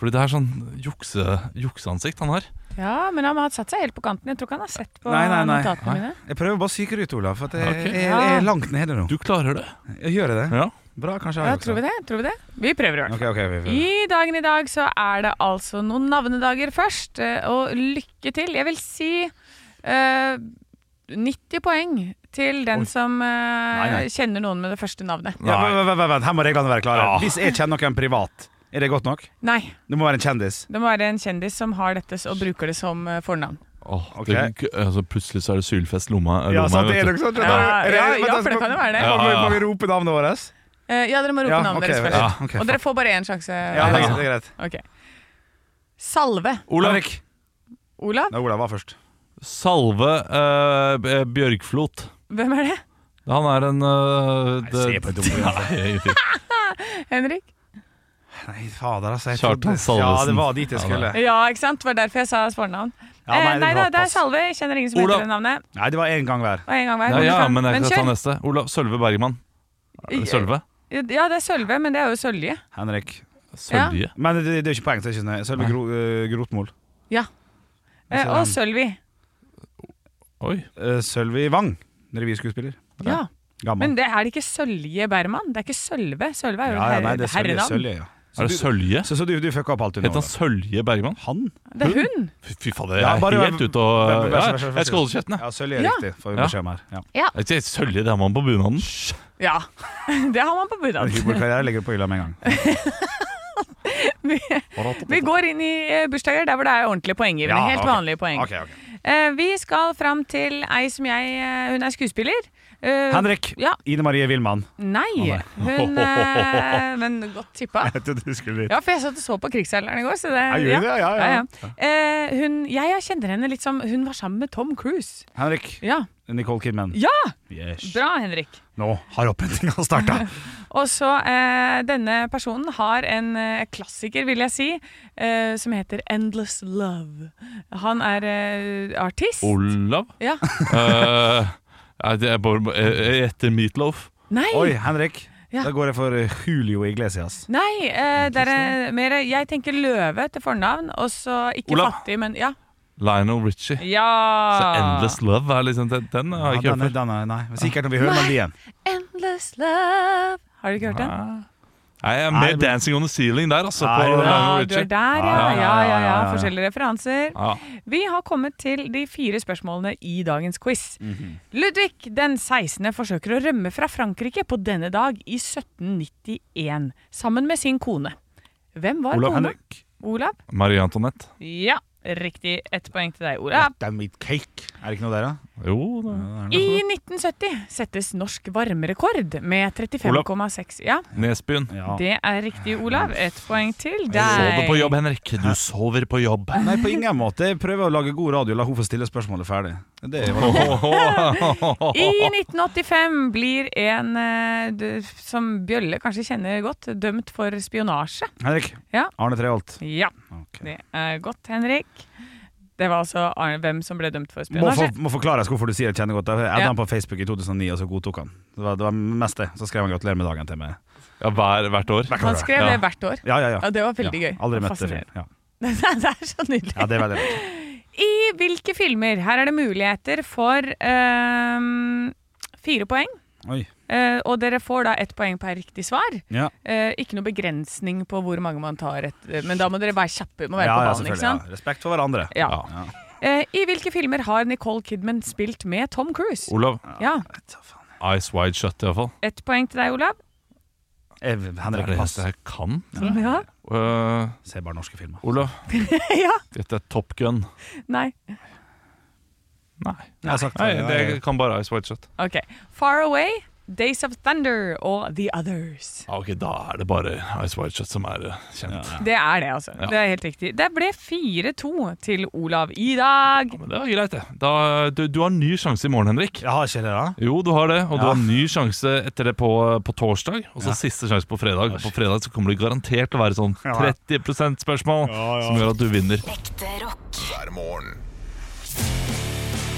Speaker 4: Fordi det er sånn jukse, jukseansikt han har.
Speaker 2: Ja, men han har satt seg helt på kanten. Jeg tror ikke han har sett på
Speaker 3: Nei, nei, nei.
Speaker 2: notatene mine.
Speaker 3: Jeg prøver bare å psyke det ut, Olav. For at jeg,
Speaker 4: Ok.
Speaker 3: jeg, jeg er langt nede nå.
Speaker 4: Du klarer det.
Speaker 3: Jeg gjør det.
Speaker 4: Ja.
Speaker 3: Bra, kanskje
Speaker 2: Ja,
Speaker 3: jeg
Speaker 2: tror vi det? Tror vi det? Vi prøver i hvert fall.
Speaker 3: Ok, ok, vi får-
Speaker 2: I dagen i dag så er det altså noen navnedager først, eh, og lykke til. Jeg vil si eh, 90 poeng til den som eh,
Speaker 3: nei.
Speaker 2: kjenner noen med det første navnet.
Speaker 3: Ja, vent, vent, vent, vent, her må reglene være klare.
Speaker 4: Ja.
Speaker 3: Hvis jeg kjenner noen privat, er det godt nok?
Speaker 2: Nei,
Speaker 3: Det må være en kjendis.
Speaker 2: det må være en kjendis som har dette s- og bruker det som eh, fornavn.
Speaker 4: Åh,
Speaker 3: Ok.
Speaker 4: det, altså, plutselig så er det sylfest lomma. eh,
Speaker 3: Ja,
Speaker 4: lomma
Speaker 3: sant, det er nok
Speaker 4: vet du.
Speaker 3: sånn.
Speaker 2: Ja,
Speaker 3: Er det-
Speaker 2: ja,
Speaker 3: vent,
Speaker 2: ja,
Speaker 3: altså,
Speaker 2: for det kan jo være det.
Speaker 3: Må, vi-
Speaker 4: Ja, ja.
Speaker 3: må vi rope navnet vårt?
Speaker 2: Eh, ja, dere må rope
Speaker 3: Ja,
Speaker 2: navnet
Speaker 3: ok,
Speaker 2: deres først.
Speaker 3: ja, ok,
Speaker 2: og dere får bare én sjanse.
Speaker 3: Ja, det er
Speaker 2: hver.
Speaker 3: greit, det er greit.
Speaker 2: Ok. Salve.
Speaker 4: Olav,
Speaker 3: Henrik.
Speaker 2: Olav,
Speaker 3: Nei, Olav var først.
Speaker 4: Salve eh, B- Bjørgflot.
Speaker 2: hvem er det?
Speaker 4: Han er en eh, det-
Speaker 3: se på dummen,
Speaker 4: Nei, fy-
Speaker 2: Henrik?
Speaker 3: Nei, fader, altså. Jeg
Speaker 4: Kjartan
Speaker 3: trodde-
Speaker 4: Salvesen.
Speaker 3: Ja, det var dit jeg skulle.
Speaker 2: Ja, ikke sant? Det var derfor jeg sa fornavn.
Speaker 3: Ja, nei,
Speaker 2: nei, eh,
Speaker 3: det
Speaker 2: nei da,
Speaker 3: var
Speaker 2: det er
Speaker 3: pass.
Speaker 2: Salve. Jeg kjenner ingen som
Speaker 4: Olav.
Speaker 2: heter det navnet.
Speaker 3: Nei, det var én gang hver.
Speaker 2: Og en gang hver.
Speaker 4: Nei,
Speaker 2: Kom
Speaker 4: ja,
Speaker 2: fram.
Speaker 4: men jeg kan ta
Speaker 3: sånn
Speaker 2: kjør.
Speaker 4: neste. Olav Sølve Bergman. Er det Sølve?
Speaker 2: Ja, det er Sølve, men det er jo Sølje.
Speaker 3: Henrik.
Speaker 4: Sølje?
Speaker 3: Men det, det er jo ikke poeng. så det er ikke sånn- Sølve gro, eh, Grotmol.
Speaker 2: Eh, og Sølvi.
Speaker 4: Oi.
Speaker 3: Eh, Sølvi Wang. Revyskuespiller.
Speaker 2: Ja.
Speaker 3: Gammel.
Speaker 2: Men det er det ikke Sølje Berman? Det er ikke Sølve. Sølve er jo
Speaker 3: ja, ja,
Speaker 2: her,
Speaker 3: nei, det er Sølje.
Speaker 2: herrenavn.
Speaker 3: Sølje ja.
Speaker 4: Er det
Speaker 3: du-
Speaker 4: Sølje?
Speaker 3: Så, så du, du fucka opp alt du nå.
Speaker 4: Heter han Sølje Bergman?
Speaker 3: Han?
Speaker 2: Det er hun.
Speaker 4: Fy fy fader, jeg
Speaker 3: Ja, bare-
Speaker 4: er helt ute
Speaker 3: Vær-
Speaker 4: og
Speaker 3: vær- vær-
Speaker 4: ja,
Speaker 3: vær- vær- vær-
Speaker 4: Jeg skal holde kjeften, jeg.
Speaker 3: Ja, Sølje er
Speaker 2: Ja.
Speaker 3: riktig, får vi
Speaker 4: Ja.
Speaker 3: beskjed om her. Ja.
Speaker 4: Jeg sier Sølje, det er man på bunaden.
Speaker 2: Ja. Det har man
Speaker 3: En
Speaker 2: på bunaden.
Speaker 3: Humorkarriere legger du på hylla med en gang.
Speaker 2: Vi, vi går inn i eh, bursdager der hvor det er ordentlige poenggivende.
Speaker 3: Ja,
Speaker 2: Helt
Speaker 3: ok.
Speaker 2: vanlige poeng.
Speaker 3: Ok, ok.
Speaker 2: Eh, vi skal fram til ei som jeg eh, Hun er skuespiller. Eh,
Speaker 3: Henrik.
Speaker 2: Ja.
Speaker 3: Ine Marie Villmann.
Speaker 2: Nei. Hun eh, Men godt tippa.
Speaker 3: Jeg trodde du skulle
Speaker 2: Ja, for jeg satt og så på Krigsseileren i går. Så det,
Speaker 3: Jeg gjorde det, ja, ja.
Speaker 2: Eh, hun, jeg kjenner henne litt som Hun var sammen med Tom Cruise.
Speaker 3: Henrik.
Speaker 2: Ja.
Speaker 3: Nicole Kidman.
Speaker 2: ja
Speaker 3: Yes.
Speaker 2: bra, Henrik.
Speaker 3: Nå har opprettinga starta.
Speaker 2: Og så eh, Denne personen har en eh, klassiker, vil jeg si, eh, som heter Endless Love. Han er eh, artist.
Speaker 4: Olav?
Speaker 2: Ja.
Speaker 4: Eh, nei, det er bare eh, Etter Meatloaf.
Speaker 2: Nei!
Speaker 3: Oi, Henrik.
Speaker 2: Ja.
Speaker 3: Da går jeg for eh, Julio Iglesias.
Speaker 2: Nei, eh, det er mer Jeg tenker Løve til fornavn, og så ikke
Speaker 4: Olav.
Speaker 2: fattig, men ja.
Speaker 4: Lionel Richie.
Speaker 2: ja.
Speaker 4: Så Endless Love er liksom Den, den har jeg ikke
Speaker 3: Ja,
Speaker 4: hørt
Speaker 3: den,
Speaker 4: før.
Speaker 3: den, nei, sikkert når vi hører melodien.
Speaker 2: Endless Love. Har du ikke hørt den?
Speaker 4: Nei, Jeg er
Speaker 3: Nei,
Speaker 4: med
Speaker 3: men-
Speaker 4: 'Dancing on the Ceiling' der, altså.
Speaker 3: Nei,
Speaker 4: På
Speaker 3: det-
Speaker 2: Ja,
Speaker 4: Lionel
Speaker 2: du er
Speaker 4: Richie.
Speaker 2: der, ja.
Speaker 4: Ja,
Speaker 2: Ja, ja, ja.
Speaker 3: ja.
Speaker 2: Forskjellige referanser.
Speaker 4: Ja.
Speaker 2: Vi har kommet til de fire spørsmålene i dagens quiz.
Speaker 4: Mhm.
Speaker 2: Ludvig den 16. forsøker å rømme fra Frankrike på denne dag i 1791, sammen med sin kone. Hvem var
Speaker 4: Olav
Speaker 2: kona?
Speaker 4: Henrik.
Speaker 2: Olav?
Speaker 4: Marie Antoinette.
Speaker 2: Ja, riktig. Ett poeng til deg, Olav.
Speaker 3: cake. Er det ikke noe der, da?
Speaker 4: Jo da.
Speaker 2: I 1970 settes norsk varmerekord med 35,6 Ja,
Speaker 4: Nesbyen.
Speaker 3: Ja.
Speaker 2: det er riktig, Olav. Ett poeng til
Speaker 4: Sover på
Speaker 2: deg.
Speaker 4: jobb, Henrik. Du sover på jobb.
Speaker 3: Nei, på ingen måte. Jeg prøver å lage god radio. La hun få stille spørsmålet ferdig. Det var det.
Speaker 2: I 1985 blir en eh, du- som Bjølle kanskje kjenner godt, dømt for spionasje.
Speaker 3: Henrik.
Speaker 2: Ja.
Speaker 3: Arne Treholt.
Speaker 2: Ja, det er godt, Henrik. Det var altså Arne, hvem som ble dømt for
Speaker 3: Må, for,
Speaker 2: spionasje.
Speaker 3: må forklares hvorfor du sier det kjenner godt. Jeg hadde
Speaker 2: Ja.
Speaker 3: han på Facebook i 2009, og så godtok han. Det var, det var mest det. Så skrev han 'gratulerer med dagen' til meg.
Speaker 4: Ja, hver, hvert år.
Speaker 2: Han skrev det hvert år.
Speaker 3: Ja, ja, ja.
Speaker 2: Ja, det var veldig gøy.
Speaker 3: Aldri møtt det
Speaker 2: Fascinerende.
Speaker 3: før. Ja.
Speaker 2: det er så nydelig.
Speaker 3: ja, det er veldig rart.
Speaker 2: I hvilke filmer? Her er det muligheter for eh, fire poeng.
Speaker 3: Oi.
Speaker 2: eh, og dere får da ett poeng per riktig svar.
Speaker 3: Ja.
Speaker 2: Eh, ikke noe begrensning på hvor mange man tar, et, men da må dere være kjappe. Må være
Speaker 3: ja,
Speaker 2: på
Speaker 3: ja,
Speaker 2: ballen, ikke
Speaker 3: selvfølgelig.
Speaker 2: sant?
Speaker 3: Ja. Respekt for hverandre.
Speaker 2: Ja.
Speaker 3: Ja.
Speaker 2: Eh, I hvilke filmer har Nicole Kidman spilt med Tom Cruise?
Speaker 4: Olav.
Speaker 2: Ja,
Speaker 4: Eyes wide shut, iallfall.
Speaker 2: Ett poeng til deg, Olav.
Speaker 3: Ev,
Speaker 4: Det
Speaker 3: Henrik,
Speaker 4: er det
Speaker 3: pass.
Speaker 4: eneste jeg kan.
Speaker 2: Ja.
Speaker 4: Uh,
Speaker 3: Se bare norske filmer.
Speaker 4: Olav,
Speaker 2: ja.
Speaker 4: dette er Top Gun.
Speaker 2: Nei.
Speaker 4: Nei,
Speaker 3: Jeg har sagt
Speaker 4: Nei
Speaker 3: det,
Speaker 4: det
Speaker 3: jeg-
Speaker 4: kan bare Ice White Shot.
Speaker 2: Ok. Far Away, Days of Thunder og The Others.
Speaker 4: Ja, Ah, ok, Da er det bare Ice White Shot som er eh, kjent.
Speaker 2: Det er det, altså.
Speaker 4: Ja.
Speaker 2: Det er helt riktig. Det ble 4-2 til Olav i dag.
Speaker 4: Men det var greit, det. Da, du, du har ny sjanse i morgen, Henrik.
Speaker 3: Jeg har ikke det, da.
Speaker 4: Jo, du har det, og du
Speaker 3: Ja.
Speaker 4: har ny sjanse etter det på, på torsdag. Og så siste sjanse på fredag. Og på fredag så kommer det garantert til å være sånn 30 spørsmål som gjør at du vinner.
Speaker 1: hver morgen.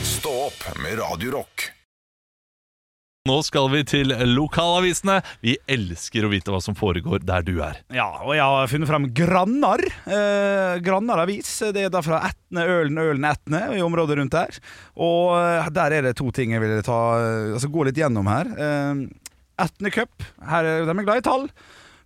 Speaker 1: Stå opp med Radio Rock.
Speaker 4: Nå skal vi til lokalavisene. Vi elsker å vite hva som foregår der du er.
Speaker 3: Ja, og jeg har funnet frem Grannar. Eh, Grannar avis. Det er da fra Etne, Ølen, Ølen, Etne i området rundt der. Og eh, der er det to ting jeg ville ta eh, Altså gå litt gjennom her. Eh, Etne Cup. Her er de er glad i tall.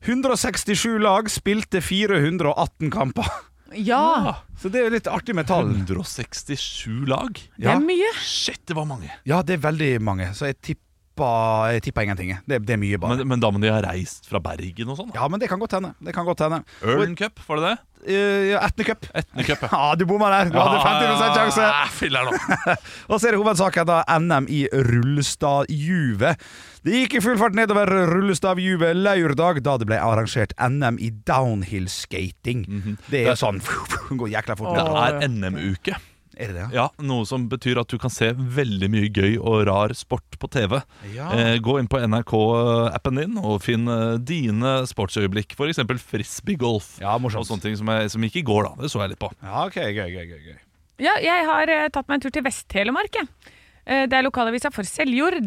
Speaker 3: 167 lag spilte 418 kamper.
Speaker 2: Ja,
Speaker 3: Så det er jo litt artig med tall.
Speaker 4: 167 lag.
Speaker 2: det er mye.
Speaker 4: Shit, det var mange.
Speaker 3: Ja, det er veldig mange. Så jeg tippa, jeg tippa ingenting. jeg. Det, det er mye, bare.
Speaker 4: Men, men da må de ha reist fra Bergen og sånn? da.
Speaker 3: Ja, men det kan godt hende. Det kan godt hende.
Speaker 4: Ørn Cup, var det det?
Speaker 3: Eh, ja, Etne Cup.
Speaker 4: Etne Cup, ja.
Speaker 3: Ja, du bomma der. Du hadde 50 sjanse.
Speaker 4: Ja, filler'n, Ah, da.
Speaker 3: Og så er det hovedsaken da NM i rullestadjuvet. Det gikk i full fart nedover rullestadjuvet lørdag, da det ble arrangert NM i downhill skating. Det er sånn Går jækla fort.
Speaker 4: Det
Speaker 3: nedover.
Speaker 4: er NM-uke.
Speaker 3: Er det det? ja?
Speaker 4: Ja, Noe som betyr at du kan se veldig mye gøy og rar sport på TV.
Speaker 3: Ja.
Speaker 4: Eh, gå inn på NRK-appen din og finn eh, dine sportsøyeblikk. F.eks. frisbeegolf.
Speaker 3: Ja, morsomt.
Speaker 4: og sånne ting som, jeg, som gikk i går, da. Det så jeg litt på.
Speaker 3: Ja, ok, gøy, gøy, gøy, gøy.
Speaker 2: Ja, jeg har eh, tatt meg en tur til Vest-Telemark. jeg. Eh, Det er lokalavisa for Seljord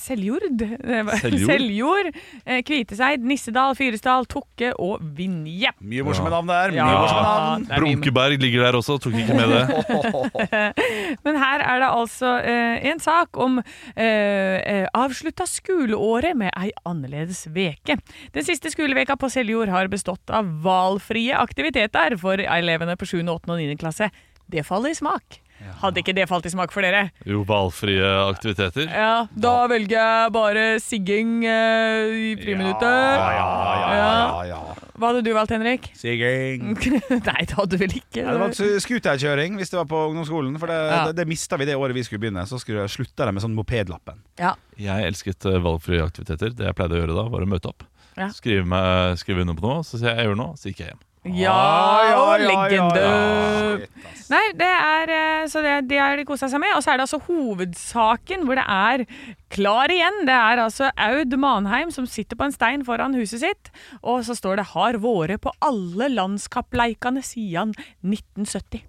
Speaker 2: Seljord? Det var-
Speaker 4: Seljord?
Speaker 2: Seljord, eh, Kviteseid, Nissedal, Fyresdal, Tokke og Vinje.
Speaker 3: Mye morsomme navn der. Mye
Speaker 2: Ja.
Speaker 3: morsomme navn.
Speaker 2: Det er mye-
Speaker 4: Brunkeberg ligger der også, tok ikke med det.
Speaker 2: Men her er det altså eh, en sak om eh, eh, avslutta skoleåret med ei annerledes veke. Den siste skoleveka på Seljord har bestått av valfrie aktiviteter for elevene på 7., 8. og 9. klasse. Det faller i smak. Hadde ikke det falt i smak for dere?
Speaker 4: Jo, valgfrie aktiviteter.
Speaker 2: Ja, da velger jeg bare sigging eh, i friminuttet.
Speaker 3: Ja, ja, ja, ja, ja.
Speaker 2: Hva hadde du valgt, Henrik?
Speaker 3: Siging.
Speaker 2: Nei, det hadde du vel ikke.
Speaker 3: Ja, det var skuterkjøring hvis det var på ungdomsskolen. For det,
Speaker 2: Ja.
Speaker 3: det, det mista vi det året vi skulle begynne. Så skulle slutta de med sånn mopedlappen.
Speaker 2: Ja.
Speaker 4: Jeg elsket eh, valgfrie aktiviteter. Det jeg pleide å gjøre da, var å møte opp.
Speaker 2: Ja.
Speaker 4: Skrive, meg, skrive under på noe, så sier jeg 'jeg gjør noe', så gikk jeg hjem.
Speaker 2: Ja,
Speaker 3: Ah, ja, ja, ja,
Speaker 2: legende!
Speaker 3: ja.
Speaker 2: Nei, det er eh, Så det, det har de kosa seg med. Og så er det altså hovedsaken hvor det er klar igjen. Det er altså Aud Manheim som sitter på en stein foran huset sitt, og så står det 'Har vært på alle landskappleikene siden 1970'.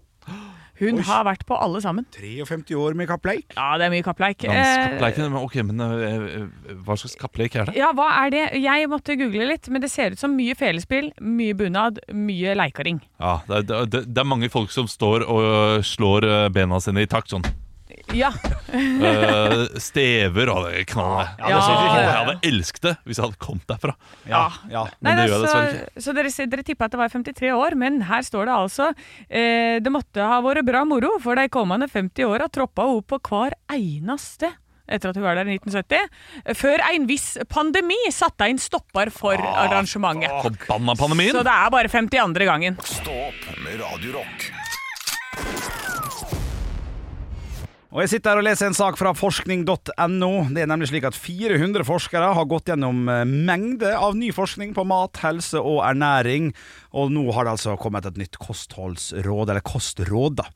Speaker 2: Hun har vært på alle sammen.
Speaker 3: 53 år med kappleik.
Speaker 2: Ja, det er mye kappleik. Eh,
Speaker 4: Landskappleiken, men ok, men eh, eh, hva slags kappleik er det?
Speaker 2: Ja, hva er det? Jeg måtte google litt, men det ser ut som mye felespill, mye bunad, mye leikaring.
Speaker 4: Ja, det, er- det, er- det er mange folk som står og øh, slår øh, bena sine i takt sånn.
Speaker 2: Ja,
Speaker 4: Øh, stever og det knallet.
Speaker 3: Ja, det ser ikke fint ut.
Speaker 4: Jeg hadde elsket det hvis jeg hadde kommet derfra.
Speaker 3: Ja, ja.
Speaker 2: Nei,
Speaker 4: Men det
Speaker 2: da,
Speaker 4: gjør jeg dessverre
Speaker 2: så, så dere, ser- dere tippa at det var 53 år, men her står det altså eh, Det måtte ha vært bra moro, for de kommende 50 åra troppa hun på hver eneste etter at hun var der i 1970, før en viss pandemi satte en stopper for arrangementet.
Speaker 4: Forbanna pandemien!
Speaker 2: Så det er bare 52. gangen.
Speaker 1: Stå opp med Radio Rock
Speaker 3: Og jeg sitter her og leser en sak fra forskning.no. Det er nemlig slik at 400 forskere har gått gjennom eh, mengde av ny forskning på mat, helse og ernæring. Og nå har det altså kommet et nytt kostholdsråd, eller kostråd, da.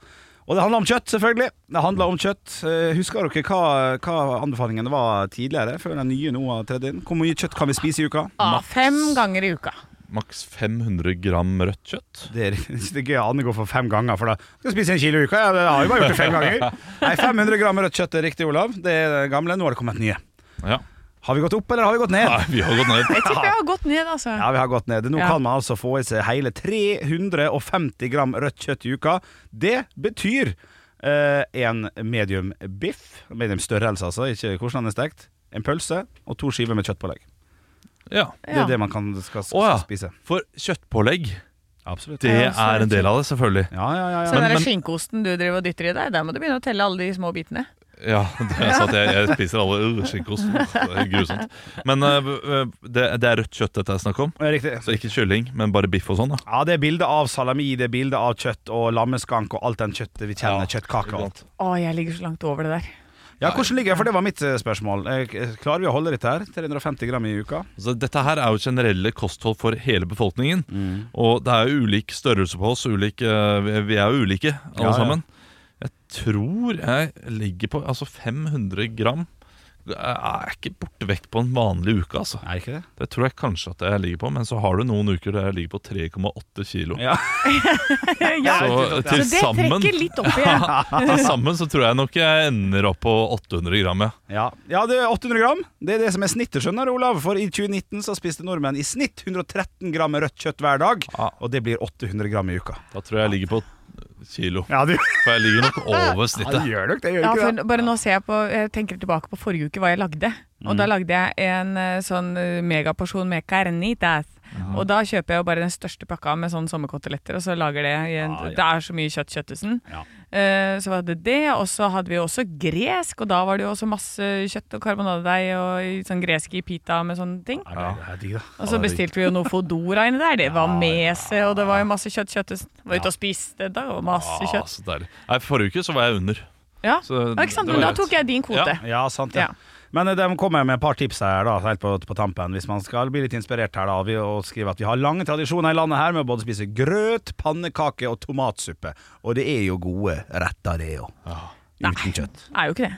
Speaker 3: Og det handler om kjøtt, selvfølgelig. Det handler om kjøtt. Eh, Husker dere hva, hva anbefalingene var tidligere, før den nye nå har tredd inn? Hvor mye kjøtt kan vi spise i uka?
Speaker 2: Ah, fem ganger i uka.
Speaker 4: Maks 500 gram rødt kjøtt.
Speaker 3: Det er, det er gøy at Anne går for fem ganger, for da skal jeg spise en kilo i uka. Ja, det har jo bare gjort det fem ganger. Nei, 500 gram rødt kjøtt er riktig, Olav. Det er det gamle. Nå har det kommet nye.
Speaker 4: Ja.
Speaker 3: Har vi gått opp, eller har vi gått ned?
Speaker 4: Nei, vi har gått ned.
Speaker 2: Jeg tipper jeg har gått ned, altså.
Speaker 3: Ja, vi har gått ned. Nå
Speaker 2: Ja.
Speaker 3: kan man altså få i seg hele 350 gram rødt kjøtt i uka. Det betyr eh, en medium biff, medium størrelse altså, ikke hvordan den er stekt, en pølse og to skiver med kjøttpålegg.
Speaker 4: Ja.
Speaker 3: Det er det man kan, skal, skal
Speaker 4: Å ja.
Speaker 3: spise.
Speaker 4: For kjøttpålegg,
Speaker 3: Absolutt.
Speaker 4: det
Speaker 2: Ja, så er
Speaker 4: er en del av det, selvfølgelig.
Speaker 3: Ja, ja, ja. ja.
Speaker 2: Så den
Speaker 4: Men-
Speaker 2: der
Speaker 4: men-
Speaker 2: skinkeosten du driver og dytter i deg, der må du begynne å telle alle de små bitene.
Speaker 4: Ja, det er sant. Jeg, jeg spiser alle øh, skinkost. Det er grusomt. Men eh, eh, det, det er rødt kjøtt dette er snakk om.
Speaker 3: Ja, eh, Riktig.
Speaker 4: Så ikke kylling, men bare biff og sånn. da
Speaker 3: Ja, det er bilde av salami, det er bilde av kjøtt og lammeskank og alt den kjøttet vi kjenner.
Speaker 4: Ja,
Speaker 3: kjøttkake og alt.
Speaker 2: Å, jeg ligger så langt over det der.
Speaker 3: Ja, hvordan ligger jeg? For det var mitt eh, spørsmål. Eh, Klarer vi å holde dette her? 350 gram i uka?
Speaker 4: Så dette her er jo generelle kosthold for hele befolkningen.
Speaker 2: Mm.
Speaker 4: Og det er jo ulik størrelse på oss. Ulik, eh, vi- vi er jo ulike, alle
Speaker 3: Ja, ja.
Speaker 4: sammen. Jeg tror jeg ligger på altså 500 gram. Jeg er ikke borte vekk på en vanlig uke, altså.
Speaker 3: Er ikke det?
Speaker 4: Det tror jeg kanskje at jeg ligger på, men så har du noen uker der jeg ligger på 3,8 kilo.
Speaker 3: Ja.
Speaker 2: Ja.
Speaker 4: Så til
Speaker 2: Så det
Speaker 4: sammen
Speaker 2: trekker litt opp igjen.
Speaker 4: Til sammen så tror jeg nok jeg ender opp på 800 gram, ja.
Speaker 3: Ja. ja, det er 800 gram. Det er det som er snittet, skjønner du, Olav. For i 2019 så spiste nordmenn i snitt 113 gram med rødt kjøtt hver dag.
Speaker 4: Ja.
Speaker 3: Og det blir 800 gram i uka.
Speaker 4: Da tror jeg jeg ligger på kilo.
Speaker 3: Ja, du
Speaker 4: For jeg ligger nok over
Speaker 3: ja,
Speaker 4: snittet.
Speaker 3: det gjør nok det. Gjør
Speaker 2: Ja,
Speaker 3: ikke det?
Speaker 2: for bare nå ser jeg på Jeg tenker tilbake på forrige uke hva jeg lagde. Og da lagde jeg en eh, sånn eh, megaporsjon med carnitas. Og da kjøper jeg jo bare den største pakka med sånn sommerkoteletter, og så lager det i en,
Speaker 3: Ja, ja.
Speaker 2: Det er så mye kjøtt, kjøttesen.
Speaker 3: Ja.
Speaker 2: Eh, så var det det, og så hadde vi jo også gresk, og da var det jo også masse kjøtt og karbonadedeig og i sånn gresk i pita med sånne ting.
Speaker 3: Ja, det er digg, da.
Speaker 2: Og så bestilte vi jo noe Fodora inni der. Det var mese, og det var jo masse kjøtt, kjøttesen. Var ute og spiste, da, og masse
Speaker 4: Ah,
Speaker 2: kjøtt.
Speaker 4: så deilig. Nei, forrige uke så var jeg under.
Speaker 2: Ja,
Speaker 4: Så
Speaker 2: ikke sant?
Speaker 4: det
Speaker 2: Men da
Speaker 4: var greit.
Speaker 2: tok jeg din kvote.
Speaker 4: Ja.
Speaker 3: Ja, sant det.
Speaker 2: Ja.
Speaker 3: Men eh, de kommer med et par tips her da, helt på, på tampen, hvis man skal bli litt inspirert her da, ved å skrive at vi har lange tradisjoner i landet her med å både spise grøt, pannekake og tomatsuppe. Og det er jo gode retter det òg. Uten kjøtt.
Speaker 2: Er jo ikke det.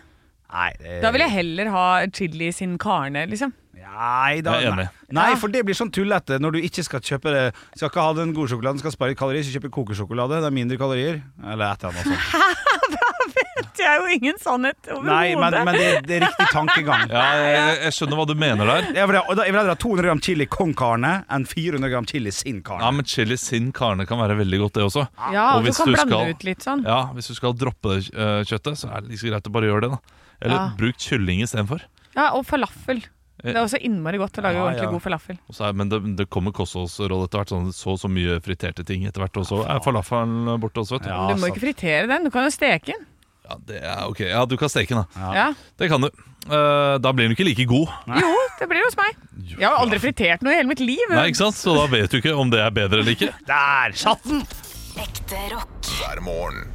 Speaker 3: Nei, det
Speaker 2: Da vil jeg heller ha chili sin carne, liksom.
Speaker 3: Nei, da,
Speaker 4: Jeg er enig.
Speaker 3: Nei. nei, for det blir sånn tullete når du ikke skal kjøpe det. Skal ikke ha den gode sjokoladen, skal spare litt kalorier, så kjøper du kokesjokolade. Det er mindre kalorier. Eller et eller annet sånt.
Speaker 2: Det er jo ingen sannhet
Speaker 3: Nei, men,
Speaker 2: overhodet.
Speaker 3: men det, det er riktig tankegang.
Speaker 4: Ja, jeg, jeg skjønner hva du mener der.
Speaker 3: Jeg vil, ha- og da- jeg vil heller ha 200 gram chili con carne enn 400 gram chili sin carne.
Speaker 4: Ja, men Chili sin carne kan være veldig godt, det også.
Speaker 2: Ja,
Speaker 4: Og
Speaker 2: du
Speaker 4: hvis
Speaker 2: kan
Speaker 4: du
Speaker 2: blande
Speaker 4: skal-
Speaker 2: ut litt sånn.
Speaker 4: Ja, Hvis du skal droppe det eh, kjøttet, så er det like så greit å bare gjøre det. da Eller
Speaker 2: Ja.
Speaker 4: bruk kylling istedenfor.
Speaker 2: Ja, og falafel. Det er også innmari godt å lage
Speaker 3: Ja, ja.
Speaker 2: ordentlig god falafel.
Speaker 4: Og så er- Men det, det kommer kostholdsråd etter hvert. Sånn, så og så mye friterte ting etter hvert. Og så er falafelen borte også, vet du.
Speaker 3: Ja,
Speaker 2: Du må
Speaker 3: sant.
Speaker 2: ikke fritere den, du kan jo steke den.
Speaker 4: Ja, det er ok. Ja, du kan steke den, da.
Speaker 2: Ja.
Speaker 4: Det kan du. Eh, da blir den ikke like god.
Speaker 2: Jo, det blir hos meg. Jeg har aldri fritert noe i hele mitt liv.
Speaker 4: Nei, ikke sant? Så da vet du ikke om det er bedre eller ikke.
Speaker 3: Der satt den!
Speaker 5: Ekte rock.
Speaker 1: hver morgen.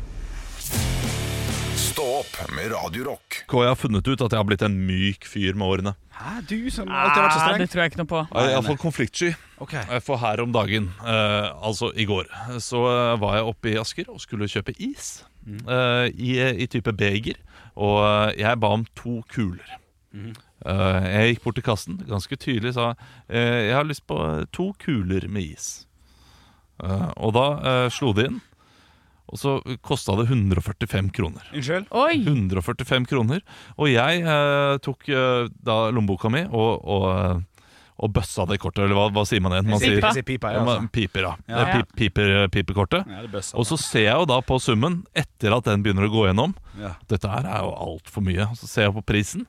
Speaker 1: Stå opp med Radio Rock.
Speaker 4: KI har funnet ut at jeg har blitt en myk fyr med årene.
Speaker 3: Hæ, du som alltid har vært så
Speaker 2: Ah, det
Speaker 3: streng.
Speaker 2: tror jeg ikke noe på.
Speaker 4: Jeg er Iallfall konfliktsky.
Speaker 3: Ok.
Speaker 4: Eh, For her om dagen, eh, altså i går, så eh, var jeg oppe i Asker og skulle kjøpe is. eh, i, I type beger. Og eh, jeg ba om to kuler. Eh, jeg gikk bort til kassen ganske tydelig sa eh, jeg har lyst på eh, to kuler med is. Eh, og da eh, slo de inn, og så kosta det 145 kroner.
Speaker 3: Unnskyld?
Speaker 2: Oi!
Speaker 4: 145 kroner. Og jeg eh, tok eh, da lommeboka mi og, og, eh, og bøssa det kortet, eller hva, hva sier man igjen? Man sier,
Speaker 3: Pipa. Sier pipa, ja,
Speaker 4: Ja, man-
Speaker 3: altså.
Speaker 4: Piper, ja.
Speaker 3: Ja.
Speaker 4: Eh, pip- Piper, pipekortet.
Speaker 3: Ja, det er altså. bøssa.
Speaker 4: Og så ser jeg jo da på summen, etter at den begynner å gå gjennom
Speaker 3: Ja.
Speaker 4: Dette her er jo altfor mye. Så ser jeg på prisen.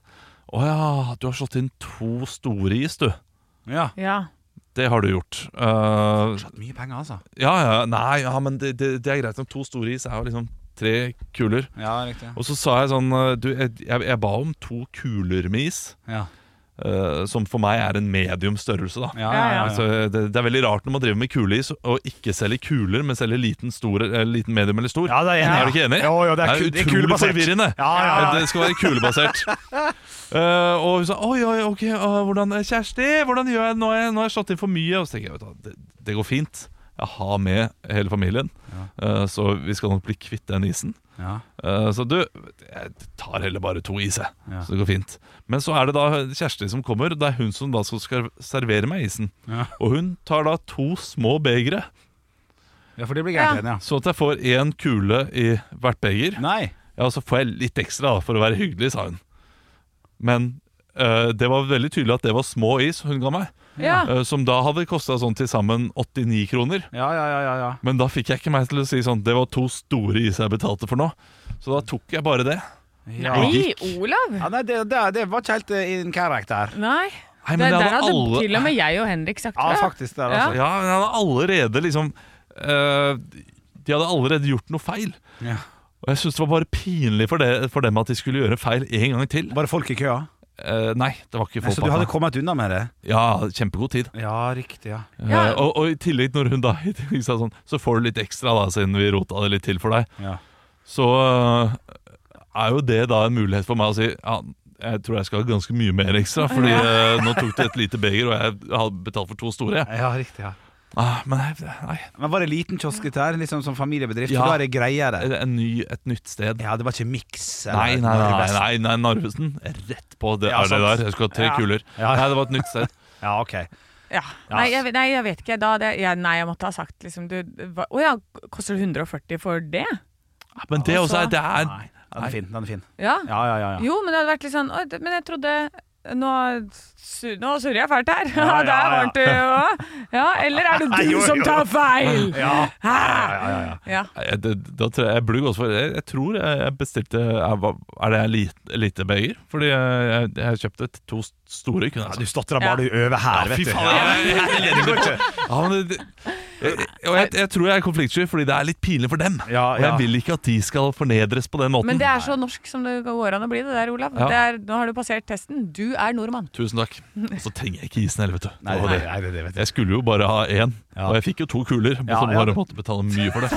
Speaker 4: Å ja, du har slått inn to store is, du.
Speaker 3: Ja.
Speaker 2: Ja.
Speaker 4: Det har du gjort. Eh,
Speaker 3: Mye penger, altså.
Speaker 4: ja, ja, nei, ja, men det, det, det er greit. om To store is er jo liksom tre kuler.
Speaker 3: Ja, riktig.
Speaker 4: Og så sa jeg sånn eh, Du, jeg, jeg, jeg ba om to kuler med is
Speaker 3: Ja,
Speaker 4: eh, Som for meg er en medium størrelse da
Speaker 3: ja, ja. ja,
Speaker 4: Altså, det, det er veldig rart når man driver med kuleis Og ikke selger kuler, men selger liten, stor, eh, liten medium eller stor
Speaker 3: Ja, det er jeg enig i.
Speaker 4: Er du ikke enig?
Speaker 3: Jo, jo, det er kul- det er
Speaker 4: utrolig
Speaker 3: kulebasert.
Speaker 4: forvirrende
Speaker 3: Ja, ja, ja.
Speaker 4: Eh, Det skal være kulebasert Eh, Og hun sa Oi, oi, ok eh, hvordan, Kjersti, hvordan gjør jeg? Nå har jeg, nå har jeg slått inn for mye Og så tenker jeg, vet du, hva, det, det går fint Jeg har med hele familien Eh, Så vi skal nok bli kvitt den isen
Speaker 3: ja.
Speaker 4: Eh, Så du, jeg tar heller bare to is, jeg.
Speaker 3: Ja.
Speaker 4: Så det går fint. Men så er det da Kjersti som kommer. og Det er hun som da skal skar- servere meg isen.
Speaker 3: Ja.
Speaker 4: Og hun tar da to små begre,
Speaker 3: Ja, for det blir gærent igjen, ja.
Speaker 4: sånn at jeg får én kule i hvert beger.
Speaker 3: Nei.
Speaker 4: Ja, og så får jeg litt ekstra da, for å være hyggelig, sa hun. Men eh, det var veldig tydelig at det var små is hun ga meg,
Speaker 2: ja.
Speaker 4: eh, som da hadde kosta sånn til sammen 89 kroner.
Speaker 3: Ja, ja, ja, ja, ja.
Speaker 4: Men da fikk jeg ikke meg til å si sånn Det var to store is jeg betalte for nå. Så da tok jeg bare det.
Speaker 3: Ja.
Speaker 2: Nei, Olav!
Speaker 3: Ja, nei, det, det, det var ikke helt eh, in character.
Speaker 2: Nei.
Speaker 4: Nei,
Speaker 2: Der,
Speaker 4: men
Speaker 2: der
Speaker 4: jeg
Speaker 2: hadde
Speaker 4: alle-
Speaker 2: til og med jeg og Henrik sagt
Speaker 3: Ja,
Speaker 2: det.
Speaker 3: faktisk. Det, er, altså.
Speaker 4: Ja, men han hadde allerede liksom eh, De hadde allerede gjort noe feil.
Speaker 3: Ja.
Speaker 4: Og jeg syns det var bare pinlig for, det, for dem at de skulle gjøre feil en gang til.
Speaker 3: Bare folk i køa.
Speaker 4: Eh, nei, det var ikke
Speaker 3: Så du
Speaker 4: fotball.
Speaker 3: hadde kommet unna med det?
Speaker 4: Ja, kjempegod tid.
Speaker 3: Ja, riktig. ja
Speaker 2: Ja.
Speaker 4: Eh, og, og i tillegg, når hun da i tillegg sa sånn, så får du litt ekstra, da, siden vi rota det litt til for deg,
Speaker 3: Ja.
Speaker 4: så eh, er jo det da en mulighet for meg å si ja, jeg tror jeg skal ha ganske mye mer ekstra, fordi eh, nå tok du et lite beger, og jeg har betalt for to store. jeg.
Speaker 3: Ja, riktig, ja
Speaker 4: Ah, men jeg- nei,
Speaker 3: Men var det liten kiosk dette her? Liksom som familiebedrift?
Speaker 4: Ja.
Speaker 3: Ja. Da er det greiere.
Speaker 4: en ny, et nytt sted.
Speaker 3: Ja, det var ikke miks? eller
Speaker 4: Nei, nei, nei,
Speaker 3: Norges-
Speaker 4: nei, nei Narvesen. Rett på det,
Speaker 3: Ja,
Speaker 4: er det
Speaker 3: sant.
Speaker 4: der. Jeg skulle ha tre
Speaker 3: Ja.
Speaker 4: kuler.
Speaker 3: Ja.
Speaker 4: Nei, det var et nytt sted.
Speaker 3: Ja, ok
Speaker 2: Ja.
Speaker 3: Ja.
Speaker 2: Nei, jeg, vet- nei, jeg vet ikke. Da, det, ja, nei, jeg måtte ha sagt liksom du, hva, Å ja, koster det 140 for det?
Speaker 4: Men det også er, det er
Speaker 3: Nei, den er fin. den er fin
Speaker 2: Ja.
Speaker 3: Ja, ja, ja. ja.
Speaker 2: Jo, men det hadde vært litt sånn «Oi, det- Men jeg trodde Nå, su- nå surrer jeg fælt her.
Speaker 3: Ja, ja,
Speaker 2: det
Speaker 3: ja.
Speaker 2: er varmt ute. Ja, eller er det du
Speaker 3: Jo, jo.
Speaker 2: som tar feil?
Speaker 3: Ja.
Speaker 2: Hæ?
Speaker 3: ja, ja.
Speaker 2: Ja.
Speaker 4: Nei, jeg- det- Da tror jeg jeg er blugg også, for jeg, jeg tror jeg jeg bestilte jeg, var- Er det en lite, lite beger? Fordi jeg, jeg, jeg kjøpte t- to s- store. Kunne jeg
Speaker 3: Du
Speaker 4: sagt.
Speaker 3: statra bare du øver her, vet
Speaker 4: fy
Speaker 3: du.
Speaker 4: faen! jeg- jeg- jeg- jeg- jeg- Ja, men det- det- jeg- Og jeg, jeg tror jeg er konfliktsky, fordi det er litt pinlig for dem.
Speaker 3: Ja,
Speaker 4: Og
Speaker 3: ja.
Speaker 4: jeg vil ikke at de skal fornedres på den måten.
Speaker 2: Men det er så norsk som det går an å bli det der, Olav.
Speaker 4: Ja.
Speaker 2: Det er, nå har du passert testen. Du er nordmann.
Speaker 4: Tusen takk. Og så trenger jeg ikke isen heller, vet du.
Speaker 3: Nei,
Speaker 4: Det var
Speaker 3: nei,
Speaker 4: det.
Speaker 3: nei, det, det vet jeg.
Speaker 4: Jeg skulle jo bare ha én,
Speaker 3: Ja.
Speaker 4: og jeg fikk jo to kuler.
Speaker 3: Ja,
Speaker 4: som
Speaker 3: ja.
Speaker 4: bare måtte betale mye for det.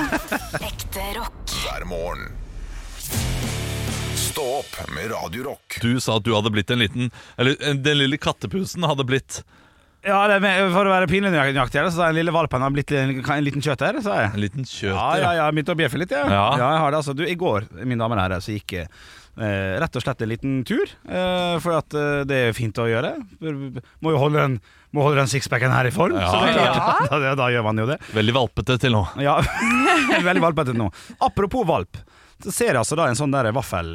Speaker 5: Ekte rock.
Speaker 1: hver morgen. Stå opp med Radio Rock.
Speaker 4: Du sa at du hadde blitt en liten Eller eh, den lille kattepusen hadde blitt
Speaker 3: Ja, det, er med- For å være pinlig nøyaktig, så er den lille valpen har blitt en, en liten kjøter, sa jeg.
Speaker 4: en liten kjøter.
Speaker 3: Ja, ja, ja, jeg begynte å bjeffe litt, ja. ja.
Speaker 4: Ja.
Speaker 3: jeg har det, altså. du, I går, mine damer og herrer, så gikk jeg eh, rett og slett en liten tur. Eh, for at eh, det er jo fint å gjøre. Må jo holde den, må holde den sixpacken her i form.
Speaker 4: Ja.
Speaker 3: Så det er klart, da, da, da gjør man jo det.
Speaker 4: Veldig valpete til nå.
Speaker 3: Ja, veldig valpete nå. Apropos valp, så ser jeg altså da en sånn der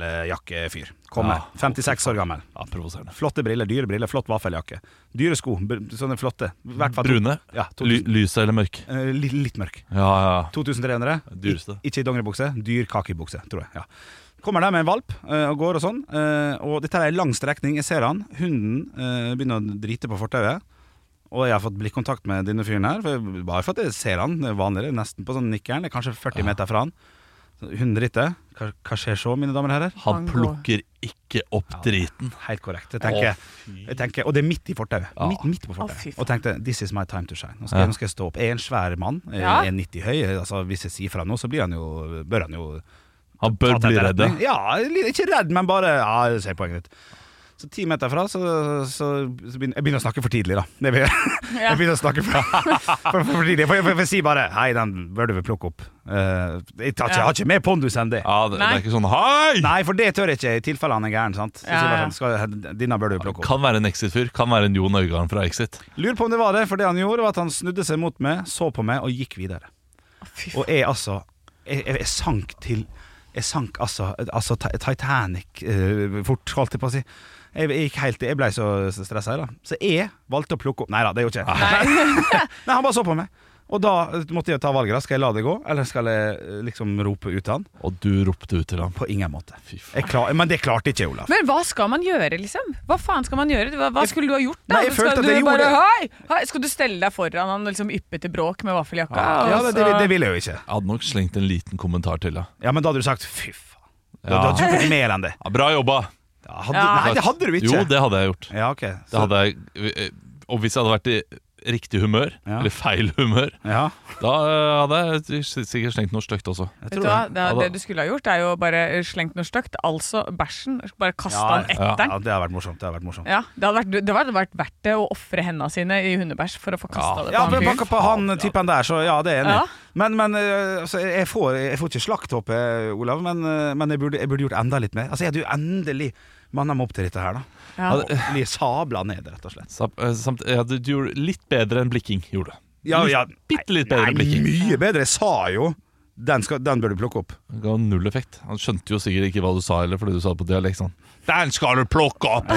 Speaker 3: vaffeljakkefyr komme.
Speaker 4: Ja.
Speaker 3: 56 år gammel.
Speaker 4: Ja, Provoserende.
Speaker 3: Flotte briller, dyre briller, flott vaffeljakke. Dyre sko, br- sånne flotte. I hvert fall to-
Speaker 4: Brune.
Speaker 3: Ja, to,
Speaker 4: Ly lyse eller mørk?
Speaker 3: eh, li- litt mørk.
Speaker 4: Ja, ja.
Speaker 3: 2300.
Speaker 4: Dyreste.
Speaker 3: Ik ikke dongeribukse, dyr kakebukse, tror jeg. Ja. Kommer der med en valp eh, og går og sånn. eh, og dette er en lang strekning. Jeg ser han. Hunden eh, begynner å drite på fortauet. Og jeg har fått blikkontakt med denne fyren her. For jeg, bare for at jeg ser han det er vanligere, nesten på sånn nikkeren. Jeg er Kanskje 40 meter fra han. Så Hunden driter. Hva, hva skjer så, mine damer og herrer?
Speaker 4: Han
Speaker 2: Han
Speaker 4: plukker ikke opp driten.
Speaker 3: Helt korrekt. Jeg tenker, jeg tenker, og det er midt i fortauet.
Speaker 4: Ja.
Speaker 3: Midt, midt på
Speaker 2: Å, fy
Speaker 3: fortauet.
Speaker 2: faen.
Speaker 3: Og tenkte 'this is my time to shine'. Nå skal, jeg, nå skal jeg stå opp. Jeg er en svær mann. Jeg
Speaker 2: Ja.
Speaker 3: er 90 høy. Altså, hvis jeg sier fra nå, så blir han jo, bør han jo
Speaker 4: Han bør
Speaker 3: ta til
Speaker 4: bli redd.
Speaker 3: etterretning. Ja, li- ikke redd, men bare Ja, jeg ser poenget ditt. Så ti meter fra, så, så, så begynner jeg begynner å snakke for tidlig, da. Det begynner, jeg begynner å snakke for, for, for, for tidlig. For, for, for, jeg sier bare 'hei, den bør du vel plukke opp'. Eh, jeg, tar ikke, jeg har ikke mer pondus enn det.
Speaker 4: Ja, det, det
Speaker 2: Nei.
Speaker 4: er ikke sånn hei!
Speaker 3: Nei, for det tør jeg ikke, i tilfelle han er gæren. sant? Så
Speaker 2: Ja,
Speaker 3: sier jeg bare
Speaker 2: ja.
Speaker 3: sånn, skal, Denne bør du plukke opp.
Speaker 4: Kan være en Exit-fyr. Kan være en Jon Øigarden fra Exit.
Speaker 3: Lurer på om det var det, for det han gjorde var at han snudde seg mot meg, så på meg og gikk videre.
Speaker 2: fy
Speaker 3: Og jeg altså Jeg, jeg, jeg sank til Jeg sank altså, altså Ti- Titanic eh, fort, holdt jeg på å si. Jeg, jeg gikk helt Jeg ble så stressa, da. Så jeg valgte å plukke opp Nei da, det gjorde ikke jeg. Nei, han bare så på meg. Og da eh, måtte jeg ta valget. da Skal jeg la det gå, eller skal jeg eh, liksom rope ut til han?
Speaker 4: Og du ropte ut til ham.
Speaker 3: På ingen måte.
Speaker 4: Fy faen.
Speaker 3: Jeg klar, men det klarte ikke jeg, Olav.
Speaker 2: Men hva skal man gjøre, liksom? Hva faen skal man gjøre? Hva, hva skulle du ha gjort, da?
Speaker 3: Nei, jeg
Speaker 2: skal
Speaker 3: følte at
Speaker 2: du
Speaker 3: jeg
Speaker 2: bare,
Speaker 3: gjorde-
Speaker 2: hei, hei, skal du stelle deg foran han og liksom yppe til bråk med vaffeljakka?
Speaker 3: Ja,
Speaker 2: og
Speaker 3: det, det,
Speaker 2: så-
Speaker 3: det ville jeg jo ikke.
Speaker 4: Jeg hadde nok slengt en liten kommentar til. da.
Speaker 3: Ja, Men da hadde du sagt fy faen. Da,
Speaker 4: Ja.
Speaker 3: da hadde du ikke mer enn det.
Speaker 4: Ja, bra jobba!
Speaker 3: Ja, hadde,
Speaker 2: Ja.
Speaker 3: Nei, det hadde du ikke.
Speaker 4: Jo, det hadde jeg gjort.
Speaker 3: Ja, ok.
Speaker 4: Det hadde jeg, eh, og hvis jeg hadde vært i riktig humør,
Speaker 3: Ja.
Speaker 4: eller feil humør,
Speaker 3: Ja,
Speaker 4: da eh, hadde jeg s- sikkert slengt noe stygt også.
Speaker 3: jeg
Speaker 2: Vet
Speaker 3: tror
Speaker 2: du hva?
Speaker 3: det.
Speaker 2: Det, er- det du skulle ha gjort, er jo bare slengt noe stygt. Altså bæsjen. Bare kasta
Speaker 3: Ja,
Speaker 2: den
Speaker 4: ja,
Speaker 2: etter
Speaker 3: Ja,
Speaker 2: den.
Speaker 3: det har vært morsomt. Det har vært morsomt.
Speaker 2: Ja, det hadde vært, det hadde vært verdt det å ofre hendene sine i hundebæsj for å få kasta det
Speaker 3: Ja,
Speaker 2: på
Speaker 3: men
Speaker 2: han
Speaker 3: banka
Speaker 2: fyren.
Speaker 3: på han typen der, så ja, det er jeg enig.
Speaker 2: Ja.
Speaker 3: i. Men, men øh, altså, jeg, får, jeg får ikke slakt, håper jeg, Olav, men, øh, men jeg, burde, jeg burde gjort enda litt mer. Altså, jeg hadde jo endelig manna meg opp til dette her, da.
Speaker 2: Ja.
Speaker 3: Og Bli sabla ned, rett og slett.
Speaker 4: Sam- eh, Samt, ja, du, du gjorde litt bedre enn blikking gjorde.
Speaker 3: Ja, ja.
Speaker 4: Bitte litt bedre enn blikking.
Speaker 3: mye bedre. Jeg sa jo den, skal, den bør du plukke opp.
Speaker 4: Det ga null effekt. Han skjønte jo sikkert ikke hva du sa heller, fordi du sa det på dialekt. Sånn. Den skal du plukke opp!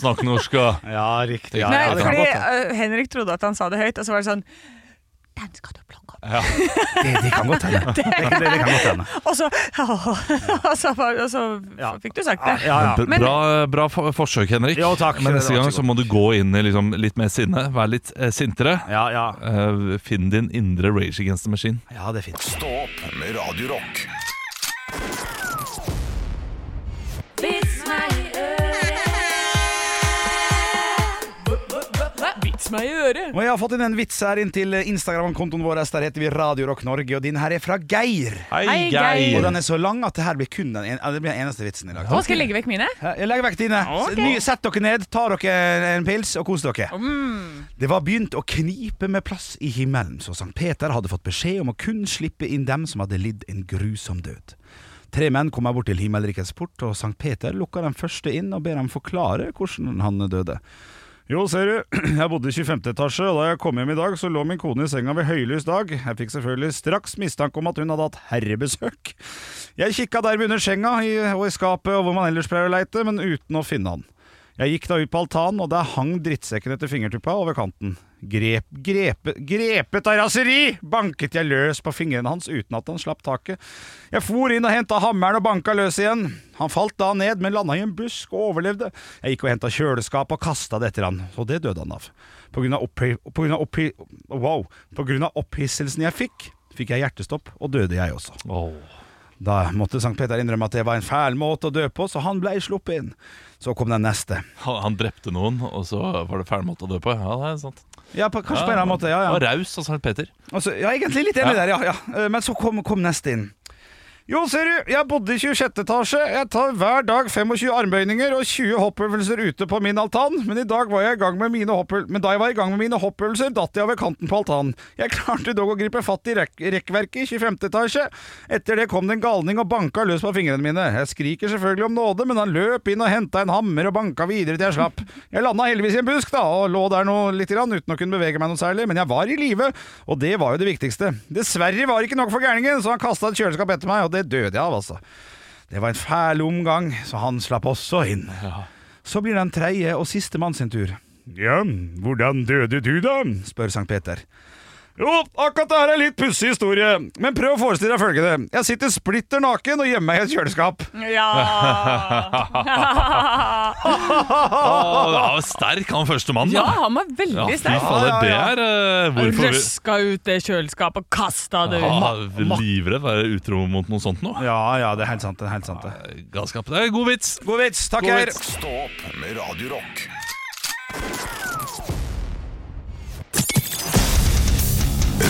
Speaker 4: Snakk norsk. ja.
Speaker 3: Ja, riktig.
Speaker 4: Ja,
Speaker 2: Nei,
Speaker 4: ja, det kan
Speaker 2: fordi øh, Henrik trodde at han sa det høyt, og så var det sånn Den skal du plukke opp.
Speaker 3: det, det kan godt hende. Det, det, det kan godt hende.
Speaker 2: Og så, og så, var- og så
Speaker 3: Ja.
Speaker 2: fikk du sagt det.
Speaker 3: Ja, ja.
Speaker 4: B-
Speaker 2: Men-
Speaker 4: bra, eh, bra for forsøk, Henrik.
Speaker 3: Jo, takk.
Speaker 4: Men
Speaker 3: Det
Speaker 4: neste
Speaker 3: var
Speaker 4: gang
Speaker 3: så
Speaker 4: så må du gå inn i liksom litt mer sinne. Være litt eh, sintere.
Speaker 3: Ja, ja.
Speaker 4: Eh, finn din indre rage against the machine.
Speaker 3: ja, det er fint.
Speaker 1: Stå opp med Radio Rock.
Speaker 2: meg i øret.
Speaker 3: Og jeg har fått inn en vits her inn til Instagram-kontoen vår. Der heter vi Radio Rock Norge, og din her er fra Geir.
Speaker 2: Hei,
Speaker 3: Og
Speaker 2: Geir.
Speaker 3: den er så lang at det her blir kun den, en, ja, det blir den eneste vitsen i dag.
Speaker 2: Nå skal jeg legge vekk mine.
Speaker 3: Ja, Jeg legger vekk dine. Ny, sett dere ned, ta dere en pils og kos dere. Det var begynt å knipe med plass i himmelen, så Sankt Peter hadde fått beskjed om å kun slippe inn dem som hadde lidd en grusom død. Tre menn kommer bort til himmelrikets port, og Sankt Peter lukker den første inn og ber ham forklare hvordan han døde. Jo, ser du, jeg bodde i 25. etasje, og da jeg kom hjem i dag, så lå min kone i senga ved høylys dag. Jeg fikk selvfølgelig straks mistanke om at hun hadde hatt herrebesøk. Jeg kikka dermed under senga i, og i skapet og hvor man ellers pleier å leite, men uten å finne han. Jeg gikk da ut på altanen, og der hang drittsekken etter fingertuppa over kanten. Grep, grepe, grepet av raseri banket jeg løs på fingrene hans uten at han slapp taket. Jeg for inn og henta hammeren og banka løs igjen. Han falt da ned, men landa i en busk og overlevde. Jeg gikk og henta kjøleskap og kasta det etter han, og det døde han av. På grunn av, opphi- på grunn av, opphi- wow. på grunn av opphisselsen jeg fikk, fikk jeg hjertestopp, og døde jeg også. Da måtte Sankt Peter innrømme at det var en fæl måte å dø på, så han blei sluppet inn. Så kom den neste.
Speaker 4: Han, han drepte noen, og så var det feil måte å dø på. Ja, det er sant.
Speaker 3: Ja, på, kanskje på en eller annen måte. Ja,
Speaker 4: Og
Speaker 3: ja.
Speaker 4: raus av Sankt Peter.
Speaker 3: Altså, ja egentlig litt enig
Speaker 4: Ja.
Speaker 3: der, ja, ja. Eh, Men så kom, kom neste inn. Jo, ser du, jeg bodde i 26. etasje. Jeg tar hver dag 25 armbøyninger og 20 hoppøvelser ute på min altan, men, i dag var jeg i gang med mine hoppøl men da jeg var i gang med mine hoppøvelser, datt jeg over kanten på altanen. Jeg klarte dog å gripe fatt i rekk rekkverket i 25. etasje. Etter det kom det en galning og banka løs på fingrene mine. Jeg skriker selvfølgelig om nåde, men han løp inn og henta en hammer og banka videre til jeg slapp. Jeg landa heldigvis i en busk, da, og lå der nå litt grann, uten å kunne bevege meg noe særlig, men jeg var i live, og det var jo det viktigste. Dessverre var det ikke nok for gærningen, så han kasta et kjøleskap etter meg, og det døde jeg av, altså. Det var en fæl omgang, så han slapp også inn. Så blir den tredje og siste mann sin tur. Ja, hvordan døde du da? spør Sankt Peter. Jo, akkurat det her er litt pussig historie, men prøv å forestille deg følgende. Jeg sitter splitter naken og gjemmer meg i et kjøleskap.
Speaker 2: Ja.
Speaker 3: Ah.
Speaker 4: Å, det var sterk, han første mannen.
Speaker 2: ja,
Speaker 4: da.
Speaker 2: han var veldig
Speaker 4: fy
Speaker 2: sterk.
Speaker 4: fader, det
Speaker 3: Ja,
Speaker 4: er eh, hvorfor vi
Speaker 2: Røska ut det kjøleskapet og kasta det ut.
Speaker 4: ah, Livredd være utro mot noe sånt nå.
Speaker 3: Ja, ja, det er helt sant. Det er helt sant det.
Speaker 4: Galskap. Det er god vits.
Speaker 3: God vits. Takk,
Speaker 4: God
Speaker 3: Geir.
Speaker 4: vits.
Speaker 1: Stå opp med Radio Rock.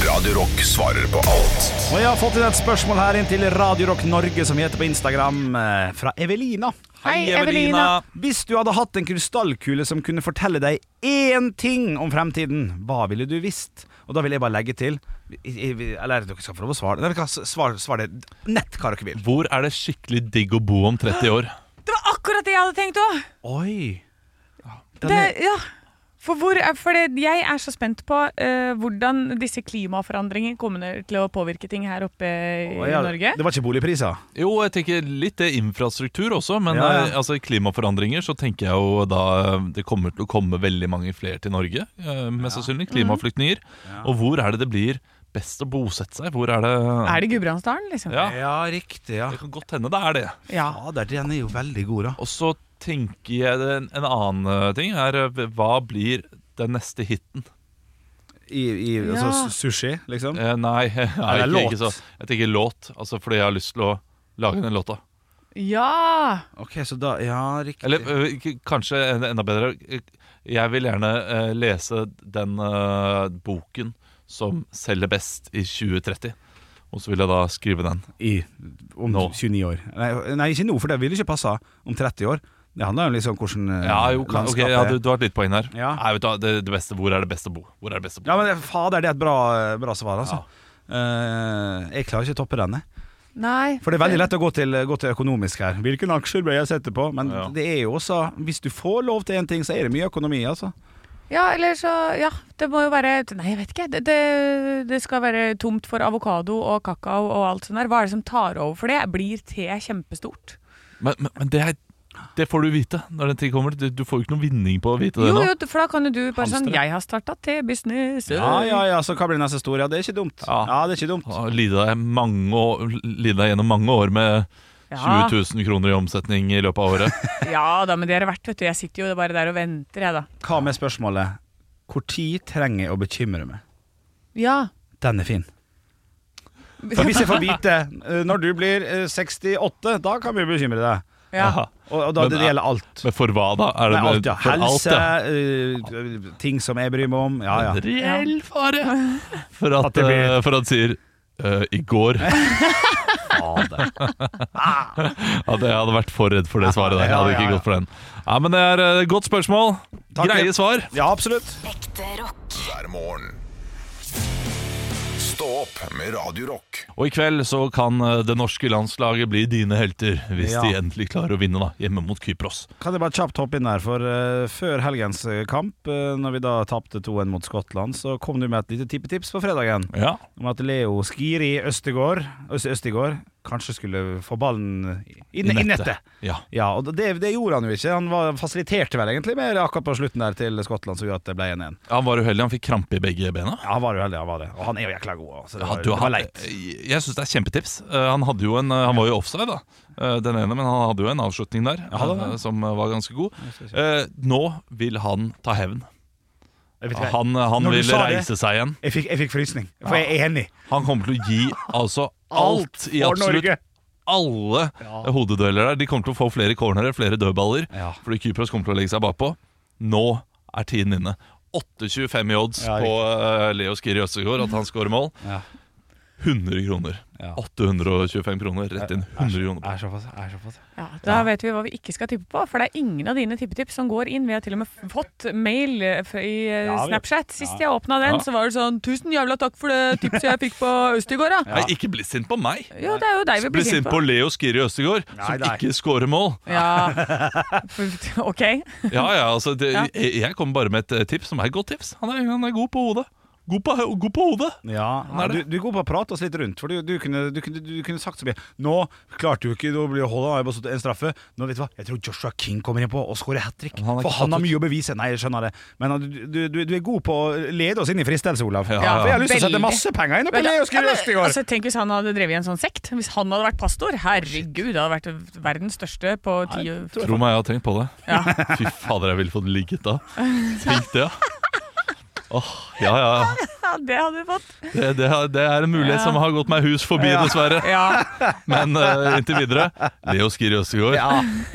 Speaker 1: Radio Rock svarer på alt
Speaker 3: Og jeg har fått inn et spørsmål her inn til Radio Rock Norge, som vi heter på Instagram, eh, fra Evelina.
Speaker 7: Hei, Evelina.
Speaker 3: Hvis du hadde hatt en krystallkule som kunne fortelle deg én ting om fremtiden, hva ville du visst? Og da vil jeg bare legge til i- i- Eller dere skal få lov å svare. Nei, dere kan s- svare, svare det nett hva dere vil.
Speaker 4: Hvor er det skikkelig digg å bo om 30 år?
Speaker 2: Det var akkurat det jeg hadde tenkt òg!
Speaker 3: Oi. Den
Speaker 2: Det,
Speaker 3: er-
Speaker 2: ja. For, hvor, er- for det, jeg er så spent på eh, hvordan disse klimaforandringene kommer til å påvirke ting her oppe i
Speaker 3: Å, ja,
Speaker 2: Norge.
Speaker 3: Det var ikke boligpriser?
Speaker 4: Jo, jeg tenker litt det infrastruktur også, men
Speaker 3: Ja, ja.
Speaker 4: eh, altså, klimaforandringer så tenker jeg jo da eh, det kommer til å komme veldig mange flere til Norge, eh, mest sannsynlig.
Speaker 3: Mhm.
Speaker 4: Klimaflyktninger. Og hvor er det det blir best å bosette seg? Hvor er det
Speaker 2: Er det Gudbrandsdalen, liksom?
Speaker 4: Ja,
Speaker 3: riktig. ja
Speaker 4: det kan godt hende det er det.
Speaker 2: Ja.
Speaker 3: Fader, den er jo veldig god, da.
Speaker 4: Og så tenker jeg det- en, en annen eh, ting er eh, hva blir den neste hiten?
Speaker 3: I, i
Speaker 2: Ja.
Speaker 3: altså, sushi, liksom?
Speaker 4: Eh, nei, nei
Speaker 3: det er
Speaker 4: ikke, ikke så.
Speaker 3: låt.
Speaker 4: Jeg tenker låt, altså fordi jeg har lyst til å lage den låta.
Speaker 2: Ja.
Speaker 3: Ok, så da Ja, riktig.
Speaker 4: Eller ø, ikke- kanskje en- enda bedre ø, Jeg vil gjerne ø, lese den ø,
Speaker 3: Mm.
Speaker 4: boken som selger best i 2030. Og så vil jeg da skrive den.
Speaker 3: I, om
Speaker 4: Nå.
Speaker 3: 29 år. Nei, nei, ikke nå, for det ville ikke passa om 30 år. Det handler jo liksom om hvordan eh,
Speaker 4: Ja, jo, kan, ok,
Speaker 3: landskapet
Speaker 4: ja
Speaker 3: er.
Speaker 4: du, du har et litt poeng her.
Speaker 3: Ja.
Speaker 4: Nei, vet du, hva, det, det beste, Hvor er det best å bo? Hvor er det best å bo?
Speaker 3: ja, men fader, det er et bra, bra svar, altså. Eh, jeg klarer ikke å toppe den. jeg.
Speaker 2: Nei.
Speaker 3: For det er veldig lett å gå til, gå til økonomisk her. Hvilken aksjer bør jeg sette på? Men
Speaker 4: Ja.
Speaker 3: det er jo også Hvis du får lov til én ting, så er det mye økonomi, altså.
Speaker 2: Ja, eller så Ja, det må jo være Nei, jeg vet ikke. Det, det, det skal være tomt for avokado og kakao og alt sånt der. Hva er det som tar over for det? Blir te kjempestort?
Speaker 4: Men, men, men det, er, det får du vite når den tid kommer. Du, du får jo ikke noen vinning på å vite det
Speaker 2: Jo,
Speaker 4: nå.
Speaker 2: jo, for da kan jo du bare sånn
Speaker 4: Hamstre.
Speaker 2: Jeg har starta tebusiness.
Speaker 3: Ja, ja, ja, så hva blir neste stor? Ja, det er ikke dumt.
Speaker 4: Ja.
Speaker 3: Ja, det er ikke dumt.
Speaker 4: Å Lide deg, mange år, lide deg gjennom mange år med
Speaker 2: Ja.
Speaker 4: 20 000 kroner i omsetning i løpet av året.
Speaker 2: Ja da, men det er det verdt, vet du. Jeg sitter jo bare der og venter, jeg, da.
Speaker 3: Hva med spørsmålet Når trenger jeg å bekymre meg?
Speaker 2: Ja.
Speaker 3: Den er fin. For hvis jeg får vite eh, når du blir eh, 68, da kan vi bekymre deg.
Speaker 2: Ja.
Speaker 4: Aha.
Speaker 3: Og, og da,
Speaker 4: Men
Speaker 3: det,
Speaker 4: er-
Speaker 3: gjelder alt.
Speaker 4: Men for hva, da? Er
Speaker 3: Nei,
Speaker 4: det
Speaker 3: alt, ja.
Speaker 4: for
Speaker 3: Helse,
Speaker 4: alt,
Speaker 3: eh, ting som jeg bryr meg om. Ja, ja.
Speaker 4: ja. En Reell fare for at,
Speaker 3: At det blir-
Speaker 4: eh, for at sier eh, i går. Ja, det, jeg hadde vært for redd for det svaret der. Jeg hadde
Speaker 3: Ja, ja,
Speaker 4: ikke
Speaker 3: ja.
Speaker 4: gått for den. Ja, Men det er eh, godt spørsmål.
Speaker 3: Takk.
Speaker 4: Greie svar.
Speaker 3: Ja, absolutt.
Speaker 5: Ekte rock.
Speaker 1: hver morgen. Stå opp med Radio Rock.
Speaker 4: Og i kveld så kan eh, det norske landslaget bli dine helter, hvis
Speaker 3: Ja.
Speaker 4: de endelig klarer å vinne da, hjemme mot Kypros.
Speaker 3: Kan jeg bare kjapt hoppe inn der, for eh, før helgens eh, kamp, eh, når vi da tapte 2-1 mot Skottland, så kom du med et lite tippetips på fredagen
Speaker 4: Ja,
Speaker 3: om at Leo Skiri Østegård, Øst Østegård kanskje skulle få ballen i, i, i nettet.
Speaker 4: Ja.
Speaker 3: Ja, og det, det gjorde han jo ikke. Han var, fasiliterte vel egentlig mer akkurat på slutten der til Skottland, som gjorde at det ble 1-1.
Speaker 4: Han var uheldig, han fikk krampe i begge bena.
Speaker 3: Ja, han var uheldig, han var det. Og han er jo jækla god. Så det
Speaker 4: Ja,
Speaker 3: var,
Speaker 4: du,
Speaker 3: det var
Speaker 4: han,
Speaker 3: leit.
Speaker 4: jeg syns det er kjempetips. Eh, Han, hadde jo en, eh, han var jo offside, da, eh, den ene, men han hadde jo en avslutning der
Speaker 3: hadde han
Speaker 4: eh, som eh, var ganske god. Eh, Nå vil han ta hevn.
Speaker 3: Jeg, vet ikke, hva-
Speaker 4: Han, eh, han
Speaker 3: Når du
Speaker 4: vil
Speaker 3: sa det-
Speaker 4: reise seg igjen.
Speaker 3: jeg, fikk, jeg fikk frysning, for jeg er enig.
Speaker 4: Han kommer til å gi altså alt i
Speaker 3: for
Speaker 4: absolutt
Speaker 3: Norge.
Speaker 4: alle hodedueller der. De kommer til å få flere cornere, flere dødballer,
Speaker 3: Ja.
Speaker 4: fordi Kypros kommer til å legge seg bakpå. Nå er tiden inne. 8,25 i odds
Speaker 3: Ja,
Speaker 4: på eh, Leo Skiri Østegård at han skårer mål.
Speaker 3: Ja.
Speaker 4: 100 kroner.
Speaker 3: Ja.
Speaker 4: 825 kroner. Rett inn 100 kroner.
Speaker 3: Er såpass, er såpass.
Speaker 2: Ja, da vet vi hva vi ikke skal tippe på, for det er ingen av dine tippetips som går inn. Vi har til og med f- fått mail eh, f- i eh,
Speaker 3: Ja, vi-
Speaker 2: Snapchat. Sist jeg åpna den,
Speaker 4: Ja.
Speaker 2: så var det sånn 'Tusen jævla takk for det tipset jeg fikk på Øst i går', da.
Speaker 4: Nei, ikke bli sint på meg!
Speaker 2: Jo, det er jo deg vi
Speaker 4: Bli
Speaker 2: blir
Speaker 4: sint på Leo Skiri Østegård,
Speaker 3: Nei,
Speaker 4: som
Speaker 3: nei.
Speaker 4: ikke skårer mål.
Speaker 2: Ja. OK.
Speaker 4: Ja, ja, altså det,
Speaker 2: Ja.
Speaker 4: Jeg jeg kommer bare med et eh, tips som er et godt tips. Han er, han er god på hodet. God på, god på hodet!
Speaker 3: Ja,
Speaker 4: er
Speaker 3: du,
Speaker 4: det.
Speaker 3: du er god på å prate oss litt rundt, for du, du, kunne, du, kunne, du kunne sagt så mye. Nå klarte jo ikke du å bli holda av en straffe. Nå vet du hva, Jeg tror Joshua King kommer inn på og skårer hat trick.
Speaker 4: Men han er ikke
Speaker 3: For han
Speaker 4: tatt
Speaker 3: har
Speaker 4: ut.
Speaker 3: mye å bevise. Nei, jeg skjønner det. Men uh, du, du, du, du er god på å lede oss inn i fristelse, Olav.
Speaker 4: Ja, ja.
Speaker 3: For jeg har lyst til å sette
Speaker 2: Veldig.
Speaker 3: masse penger inn på
Speaker 2: Men-
Speaker 3: det og skrive
Speaker 2: Ja, men,
Speaker 3: øst i går.
Speaker 2: altså, tenk hvis han hadde drevet i en sånn sekt. Hvis han hadde vært pastor. Herregud, det hadde vært verdens største på ti
Speaker 4: Tro meg, jeg har tenkt på det.
Speaker 2: Ja.
Speaker 4: Fy fader, jeg ville fått ligget da. Tenk det, ja. Åh, ja, ja. ja.
Speaker 2: Ja, det hadde vi fått.
Speaker 4: Det, det, har- det er en mulighet som har gått meg hus forbi, dessverre.
Speaker 2: Ja.
Speaker 4: Men eh, inntil videre Leo Skiri Østegård.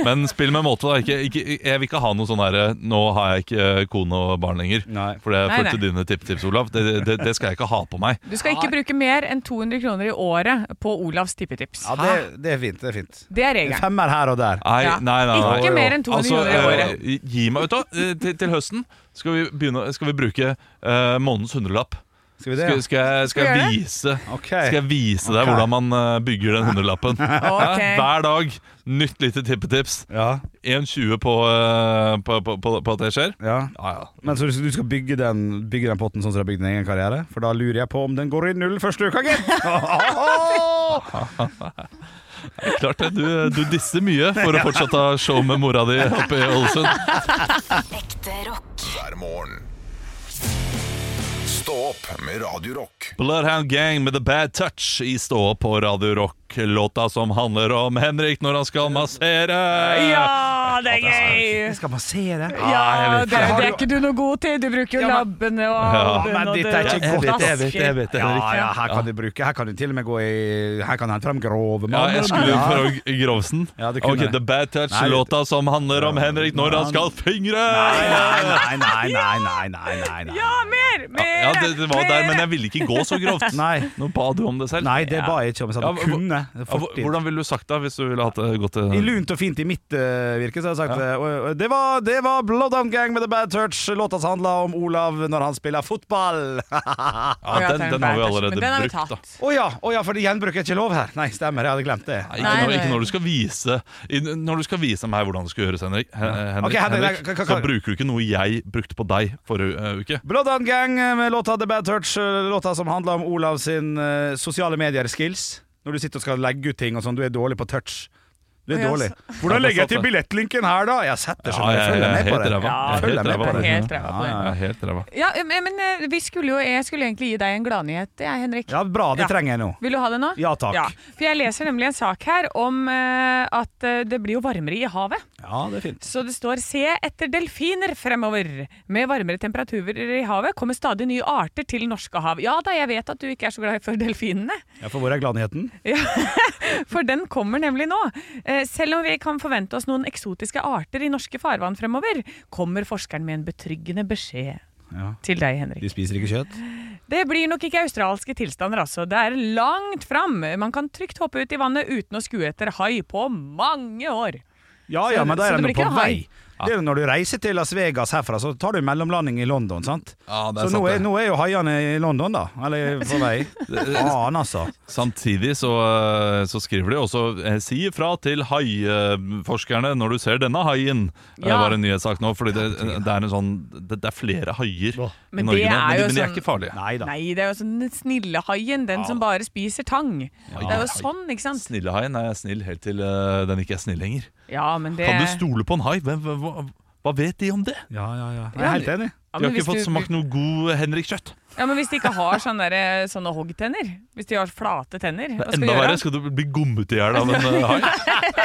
Speaker 4: Men spill med måte, da. Ikke, ikke, jeg vil ikke ha noe sånn herre Nå har jeg ikke eh, kone og barn lenger.
Speaker 3: Nei.
Speaker 4: For det
Speaker 2: Nei,
Speaker 4: fulgte
Speaker 2: nei.
Speaker 4: dine tippetips, Olav. Det, det, det skal jeg ikke ha på meg.
Speaker 2: Du skal ikke bruke mer enn 200 kroner i året på Olavs tippetips.
Speaker 3: Ja, det, det er fint. Det er fint.
Speaker 2: Det er regelen.
Speaker 3: Femmer her og der.
Speaker 4: Nei,
Speaker 2: Ja.
Speaker 4: nei, nei, nei.
Speaker 2: Ikke mer enn 200
Speaker 4: Altså,
Speaker 2: kroner i
Speaker 4: eh, Gi meg ut, da. Eh, Til, til høsten skal vi, begynne, skal vi bruke eh, månedens hundrelapp.
Speaker 3: Skal vi det?
Speaker 4: Skal, skal, jeg, skal,
Speaker 2: Skal vi
Speaker 4: jeg
Speaker 2: gjøre det?
Speaker 4: vise,
Speaker 3: Ok.
Speaker 4: skal jeg vise deg
Speaker 3: Ok.
Speaker 4: hvordan man eh, bygger den hundrelappen? Ja,
Speaker 2: Ok.
Speaker 4: Hver dag. Nytt lite tippetips.
Speaker 3: Ja.
Speaker 4: 1,20 på, eh, på, på, på, på at det skjer.
Speaker 3: ja.
Speaker 4: Ja, ja.
Speaker 3: Men så du skal- du skal bygge den, bygge den potten sånn som du har bygd din egen karriere? For da lurer jeg på om den går i null første uka, gitt!
Speaker 4: Klart det. Du, du disser mye for å fortsatt ha show med mora di oppe i Ålesund.
Speaker 5: Ekte rock.
Speaker 1: hver morgen. Stå opp med Radio Rock.
Speaker 4: Bloodhound Gang med The Bad Touch i stå på Radio Rock. Låta som handler om Henrik når han skal massere.
Speaker 2: Ja, det er gøy!
Speaker 3: Jeg skal bare se det.
Speaker 2: Ja, det, det er ikke du noe god til. Du bruker jo
Speaker 3: Ja,
Speaker 2: labbene og
Speaker 4: Ja,
Speaker 3: men
Speaker 2: og
Speaker 3: dette er
Speaker 2: det-
Speaker 3: ikke godt,
Speaker 2: og
Speaker 3: jeg
Speaker 2: dasker.
Speaker 3: Ja, ja, her kan du bruke Her kan du til og med gå i Her kan du hente frem grove
Speaker 4: Ja,
Speaker 3: mann.
Speaker 4: jeg skulle fra Grovsen.
Speaker 3: Ja, det kunne
Speaker 4: ok,
Speaker 3: jeg.
Speaker 4: The Bad Touch,
Speaker 3: Nei, det-
Speaker 4: låta som handler om Henrik når han skal fingre!
Speaker 3: Nei, nei, nei, nei, nei, nei, nei, nei.
Speaker 2: Ja, mer! Mer!
Speaker 4: Ja, det, det var der,
Speaker 2: mer.
Speaker 4: men jeg ville ikke gå så grovt.
Speaker 3: Nei.
Speaker 4: Nå ba du om det selv.
Speaker 3: Nei, det ba jeg ikke om. Jeg sa
Speaker 4: Ja,
Speaker 3: du
Speaker 4: hvor-
Speaker 3: kunne.
Speaker 4: Ja, hvor-
Speaker 3: Fortid.
Speaker 4: hvordan ville du sagt det hvis du ville hatt det eh? gått til
Speaker 3: I lunt og fint i mitt eh, virke, så har jeg sagt eh, og- og Det var, det var Bloodhound Gang med The Bad Touch. Låta som handla om Olav når han spiller fotball. Å
Speaker 2: Å, ja,
Speaker 4: Ja, den,
Speaker 2: det er
Speaker 4: den har
Speaker 2: bad
Speaker 4: vi
Speaker 2: touch,
Speaker 4: allerede
Speaker 2: men den har vi
Speaker 4: brukt, da.
Speaker 2: tatt.
Speaker 3: ja, å ja, for gjenbruk er ikke lov her. Nei, stemmer, jeg hadde glemt det.
Speaker 2: Nei,
Speaker 4: Nei, ikke, når, ikke
Speaker 2: nei.
Speaker 4: når du skal vise i- Når du skal vise meg hvordan det skal gjøres, Henrik, Hen- Henrik,
Speaker 3: Ok, Henrik,
Speaker 4: Henrik
Speaker 3: kan- kan-
Speaker 4: så
Speaker 3: kan-
Speaker 4: bruker du ikke noe jeg brukte på deg forrige eh, uke.
Speaker 3: Bloodhound Gang med låta The Bad Touch, låta som handler om Olav sin eh, sosiale medier-skills. Når du sitter og skal legge ut ting og sånn, du er dårlig på touch. Du er
Speaker 2: Å, ja,
Speaker 3: dårlig.
Speaker 2: så-
Speaker 3: Hvordan
Speaker 4: Ja,
Speaker 3: legger jeg
Speaker 4: det
Speaker 3: til
Speaker 4: er sant,
Speaker 3: billettlinken her, da? Jeg setter sånn, jeg
Speaker 4: jeg-
Speaker 3: følger
Speaker 4: jeg er
Speaker 3: med på
Speaker 4: helt
Speaker 3: det.
Speaker 4: ræva. Jeg
Speaker 3: følger
Speaker 4: er
Speaker 3: med
Speaker 4: helt
Speaker 3: på
Speaker 4: ræva.
Speaker 3: det.
Speaker 2: Helt ræva på det.
Speaker 4: Ja, helt ræva.
Speaker 2: Ja, men men, eh, vi skulle jo Jeg skulle egentlig gi deg en gladnyhet, jeg, Henrik.
Speaker 3: Ja, bra, det
Speaker 2: Ja.
Speaker 3: trenger jeg nå.
Speaker 2: Vil du ha det nå?
Speaker 3: Ja takk. Ja.
Speaker 2: For jeg leser nemlig en sak her om eh, at eh, det blir jo varmere i havet.
Speaker 3: det er fint.
Speaker 2: Så det står 'se etter delfiner fremover'. Med varmere temperaturer i havet kommer stadig nye arter til norske hav. Ja da, jeg vet at du ikke er så glad for delfinene,
Speaker 3: Ja, for hvor er gladnyheten?
Speaker 2: for den kommer nemlig nå. Eh, Eh, Selv om vi kan forvente oss noen eksotiske arter i norske farvann fremover, kommer forskeren med en betryggende beskjed
Speaker 3: Ja.
Speaker 2: til deg, Henrik.
Speaker 3: De spiser ikke kjøtt?
Speaker 2: Det blir nok ikke australske tilstander, altså. Det er langt fram. Man kan trygt hoppe ut i vannet uten å skue etter hai på mange år.
Speaker 3: Ja ja, men da
Speaker 2: Så
Speaker 3: er
Speaker 2: det
Speaker 3: de
Speaker 2: blir
Speaker 3: jo på
Speaker 2: ikke
Speaker 3: vei. Det er jo Når du reiser til Las Vegas herfra, så tar du mellomlanding i London, sant?
Speaker 4: Ja,
Speaker 3: Så
Speaker 4: det er sant
Speaker 3: nå er,
Speaker 4: det.
Speaker 3: nå er jo haiene i London, da. Eller på vei. Faen, altså.
Speaker 4: Samtidig så, eh, så skriver de også eh, Si ifra til haiforskerne når du ser denne haien. Det
Speaker 2: Ja.
Speaker 4: var en nyhetssak nå, fordi det, det er en sånn Det, det er flere haier i
Speaker 2: Men
Speaker 4: Norge,
Speaker 2: det
Speaker 4: nå,
Speaker 2: er
Speaker 4: men,
Speaker 2: jo
Speaker 4: de, men de er
Speaker 2: sånn-
Speaker 4: ikke farlige.
Speaker 3: Nei da.
Speaker 2: Nei, det er jo sånn den snille haien, den som bare spiser tang. Det er jo sånn, ikke sant?
Speaker 4: Snillehaien er snill helt til eh, den ikke er snill lenger.
Speaker 2: Ja, men det
Speaker 4: Kan du stole på en hai? Hvem, hva, hva vet de om det?
Speaker 3: Ja, ja, ja. Jeg er helt enig.
Speaker 2: Ja,
Speaker 4: De
Speaker 2: men
Speaker 4: har ikke
Speaker 2: hvis
Speaker 4: fått
Speaker 2: du-
Speaker 4: smakt noe god Henrik-kjøtt.
Speaker 2: Ja, men hvis de ikke har sånne, der, eh, sånne hoggtenner, hvis de har flate tenner, hva skal du
Speaker 4: Enda
Speaker 2: gjøre?
Speaker 4: verre skal du bli gommet i hjel av en eh, hai.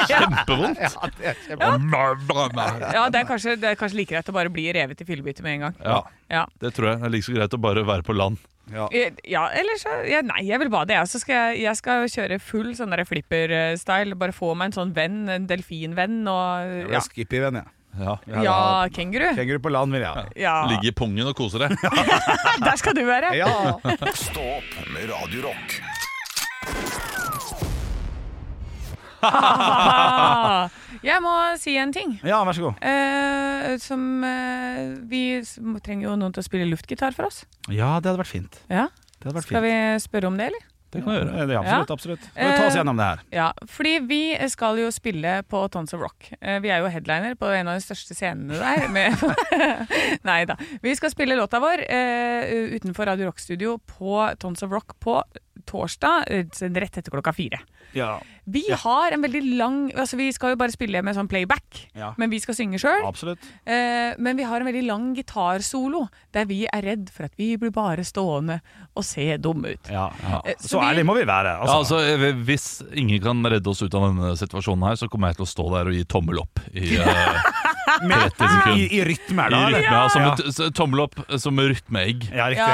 Speaker 4: Kjempevondt. Ja.
Speaker 2: Ja, det er, kanskje, det er kanskje like greit å bare bli revet i fillebitter med en gang.
Speaker 4: ja,
Speaker 2: Ja.
Speaker 4: det tror jeg. Det er like så greit å bare være på land.
Speaker 2: Eh, Ja, eller så ja, Nei, jeg vil bade, jeg. Så skal jeg, jeg skal kjøre full sånn der flipper-style. Bare få meg en sånn venn, en delfinvenn og ja.
Speaker 3: Jeg skipper i venn, jeg.
Speaker 4: Ja.
Speaker 2: Ja, kenguru.
Speaker 3: Kenguru på land, vil jeg ha.
Speaker 2: Ja,
Speaker 4: Ligge i pungen og kose deg.
Speaker 2: der skal du være.
Speaker 3: Ja.
Speaker 1: Stå opp med Radio Rock.
Speaker 2: Ah, jeg må si en ting.
Speaker 3: ja, vær så god.
Speaker 2: eh, som eh, Vi s- må- trenger jo noen til å spille luftgitar for oss.
Speaker 3: Ja, det hadde vært fint.
Speaker 2: Ja.
Speaker 3: Det hadde vært
Speaker 2: Skal
Speaker 3: fint.
Speaker 2: vi spørre om det, eller?
Speaker 3: Det kan vi gjøre. Ja, absolutt. absolutt. Skal vi ta oss
Speaker 2: Eh,
Speaker 3: gjennom det her?
Speaker 2: Ja, fordi vi skal jo spille på Tons of Rock. Eh, Vi er jo headliner på en av de største scenene der. Med Nei da. Vi skal spille låta vår eh, utenfor Radio Rock Studio på Tons of Rock på torsdag eh, rett etter klokka fire.
Speaker 3: Ja.
Speaker 2: Vi har en veldig lang Altså Vi skal jo bare spille med sånn playback,
Speaker 3: Ja.
Speaker 2: men vi skal synge sjøl.
Speaker 3: Absolutt.
Speaker 2: Eh, men vi har en veldig lang gitarsolo der vi er redd for at vi blir bare stående og se dumme ut.
Speaker 3: Ja.
Speaker 2: Eh,
Speaker 3: Så
Speaker 2: vi-
Speaker 3: ærlig må vi være.
Speaker 4: Ja,
Speaker 3: Altså.
Speaker 4: altså, eh, hvis ingen kan redde oss ut av denne situasjonen her, så kommer jeg til å stå der og gi tommel opp i, eh,
Speaker 3: Med-
Speaker 4: 30 sekunder.
Speaker 3: I, I altså, rytmer,
Speaker 4: i
Speaker 3: da. eller?
Speaker 4: rytme. Ja, som
Speaker 3: Ja.
Speaker 4: et, s- tommel opp eh, som rytmeegg.
Speaker 3: Ja, riktig.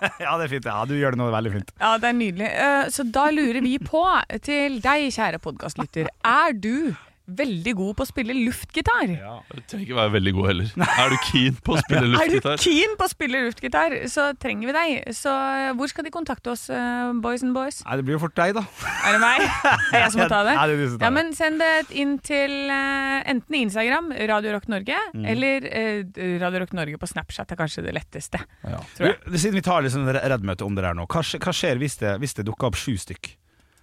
Speaker 3: Ja. ja, det er fint. Ja, du gjør det nå veldig fint.
Speaker 2: Ja, det er nydelig. Eh, Så da lurer vi på til deg, kjære podkastlytter. Er du veldig god på å spille luftgitar?
Speaker 4: Du trenger ikke være veldig god heller. Er du keen på å spille
Speaker 2: Er du
Speaker 4: luftgitar?
Speaker 2: keen på å spille luftgitar, så trenger vi deg. Så eh, hvor skal de kontakte oss, eh, boys and boys?
Speaker 3: Nei, det blir jo fort deg, da.
Speaker 2: Er det meg? Er jeg som må ta det?
Speaker 3: Ja, det er du som tar
Speaker 2: Ja,
Speaker 3: det.
Speaker 2: men Send det inn til eh, enten Instagram, Radio Rock Norge,
Speaker 3: Mm.
Speaker 2: eller eh, Radio Rock Norge på Snapchat er kanskje det letteste. Tror jeg.
Speaker 3: Du, Siden vi tar litt sånn reddmøte om det der nå, hva, skje- hva skjer hvis det, hvis det dukker opp sju stykk?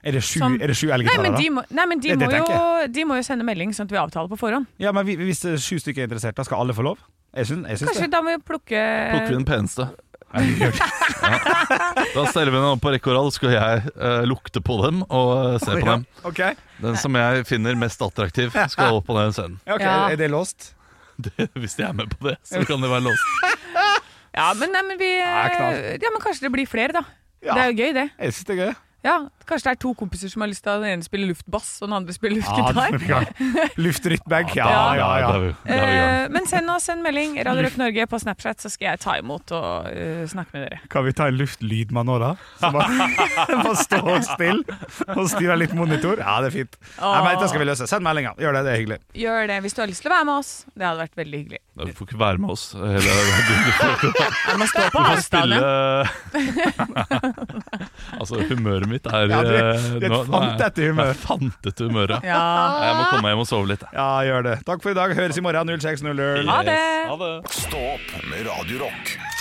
Speaker 3: Er det sju,
Speaker 2: Som-
Speaker 3: er det sju
Speaker 2: Nei,
Speaker 3: elgitarer,
Speaker 2: men,
Speaker 3: da?
Speaker 2: de må, nei, men de,
Speaker 3: Det- det
Speaker 2: må jo,
Speaker 3: tenker
Speaker 2: de må jo sende melding, sånn at vi avtaler på forhånd.
Speaker 3: Ja, men vi- Hvis det er sju stykker er interessert, da skal alle få lov? Jeg syns, jeg syns
Speaker 2: Kanskje
Speaker 3: det.
Speaker 2: da må vi plukke
Speaker 4: Plukker vi den peneste. Ja. Da steller vi den opp på rekke og rad, skal jeg eh, lukte på dem og eh, se på
Speaker 3: Ja,
Speaker 4: dem.
Speaker 3: Ok,
Speaker 4: Den som jeg finner mest attraktiv, skal opp på den scenen.
Speaker 3: Ja, ok,
Speaker 2: Ja.
Speaker 3: Er det låst?
Speaker 4: Det, hvis de er med på det, så kan det være låst.
Speaker 2: Ja, men, nei, men vi
Speaker 3: knall.
Speaker 2: Ja, men kanskje det blir flere, da.
Speaker 3: Ja.
Speaker 2: Det er jo gøy, det.
Speaker 3: Jeg syns det er gøy.
Speaker 2: Ja, Kanskje det er to kompiser som har lyst til at den ene spiller luftbass, og den andre spiller
Speaker 3: Ja,
Speaker 2: luftgitar.
Speaker 3: det- Luftryttbag. Ja, ja,
Speaker 4: Da er
Speaker 3: ja.
Speaker 4: vi, da er vi i gang.
Speaker 2: Eh, men send oss en melding, Radio Rødt Norge, på Snapchat, så skal jeg ta imot og eh, snakke med dere.
Speaker 3: Kan vi ta en luftlydmann òg, da? Som bare, bare står stille og styrer litt monitor? Ja, det er fint. Nei, men Dette skal vi løse. Send meldinger. Gjør det, det er hyggelig.
Speaker 2: Gjør det hvis du har lyst til å være med oss. Det hadde vært veldig hyggelig.
Speaker 4: Du får ikke være med oss. Eh, Hele, du får, du
Speaker 2: Stå på
Speaker 4: får
Speaker 2: avstand.
Speaker 4: spille Altså, humøret mitt er
Speaker 3: Ja, du-
Speaker 4: eh,
Speaker 3: det er et
Speaker 4: nå- nå er-
Speaker 3: fantete humør.
Speaker 4: Det er Fantete humøret.
Speaker 2: Ja.
Speaker 4: Jeg må komme hjem og sove litt. jeg.
Speaker 3: Ja, gjør det. Takk for i dag. Høres i morgen 06.00.
Speaker 2: Ha det.
Speaker 4: Ha det.
Speaker 1: Stå opp med Radio Rock.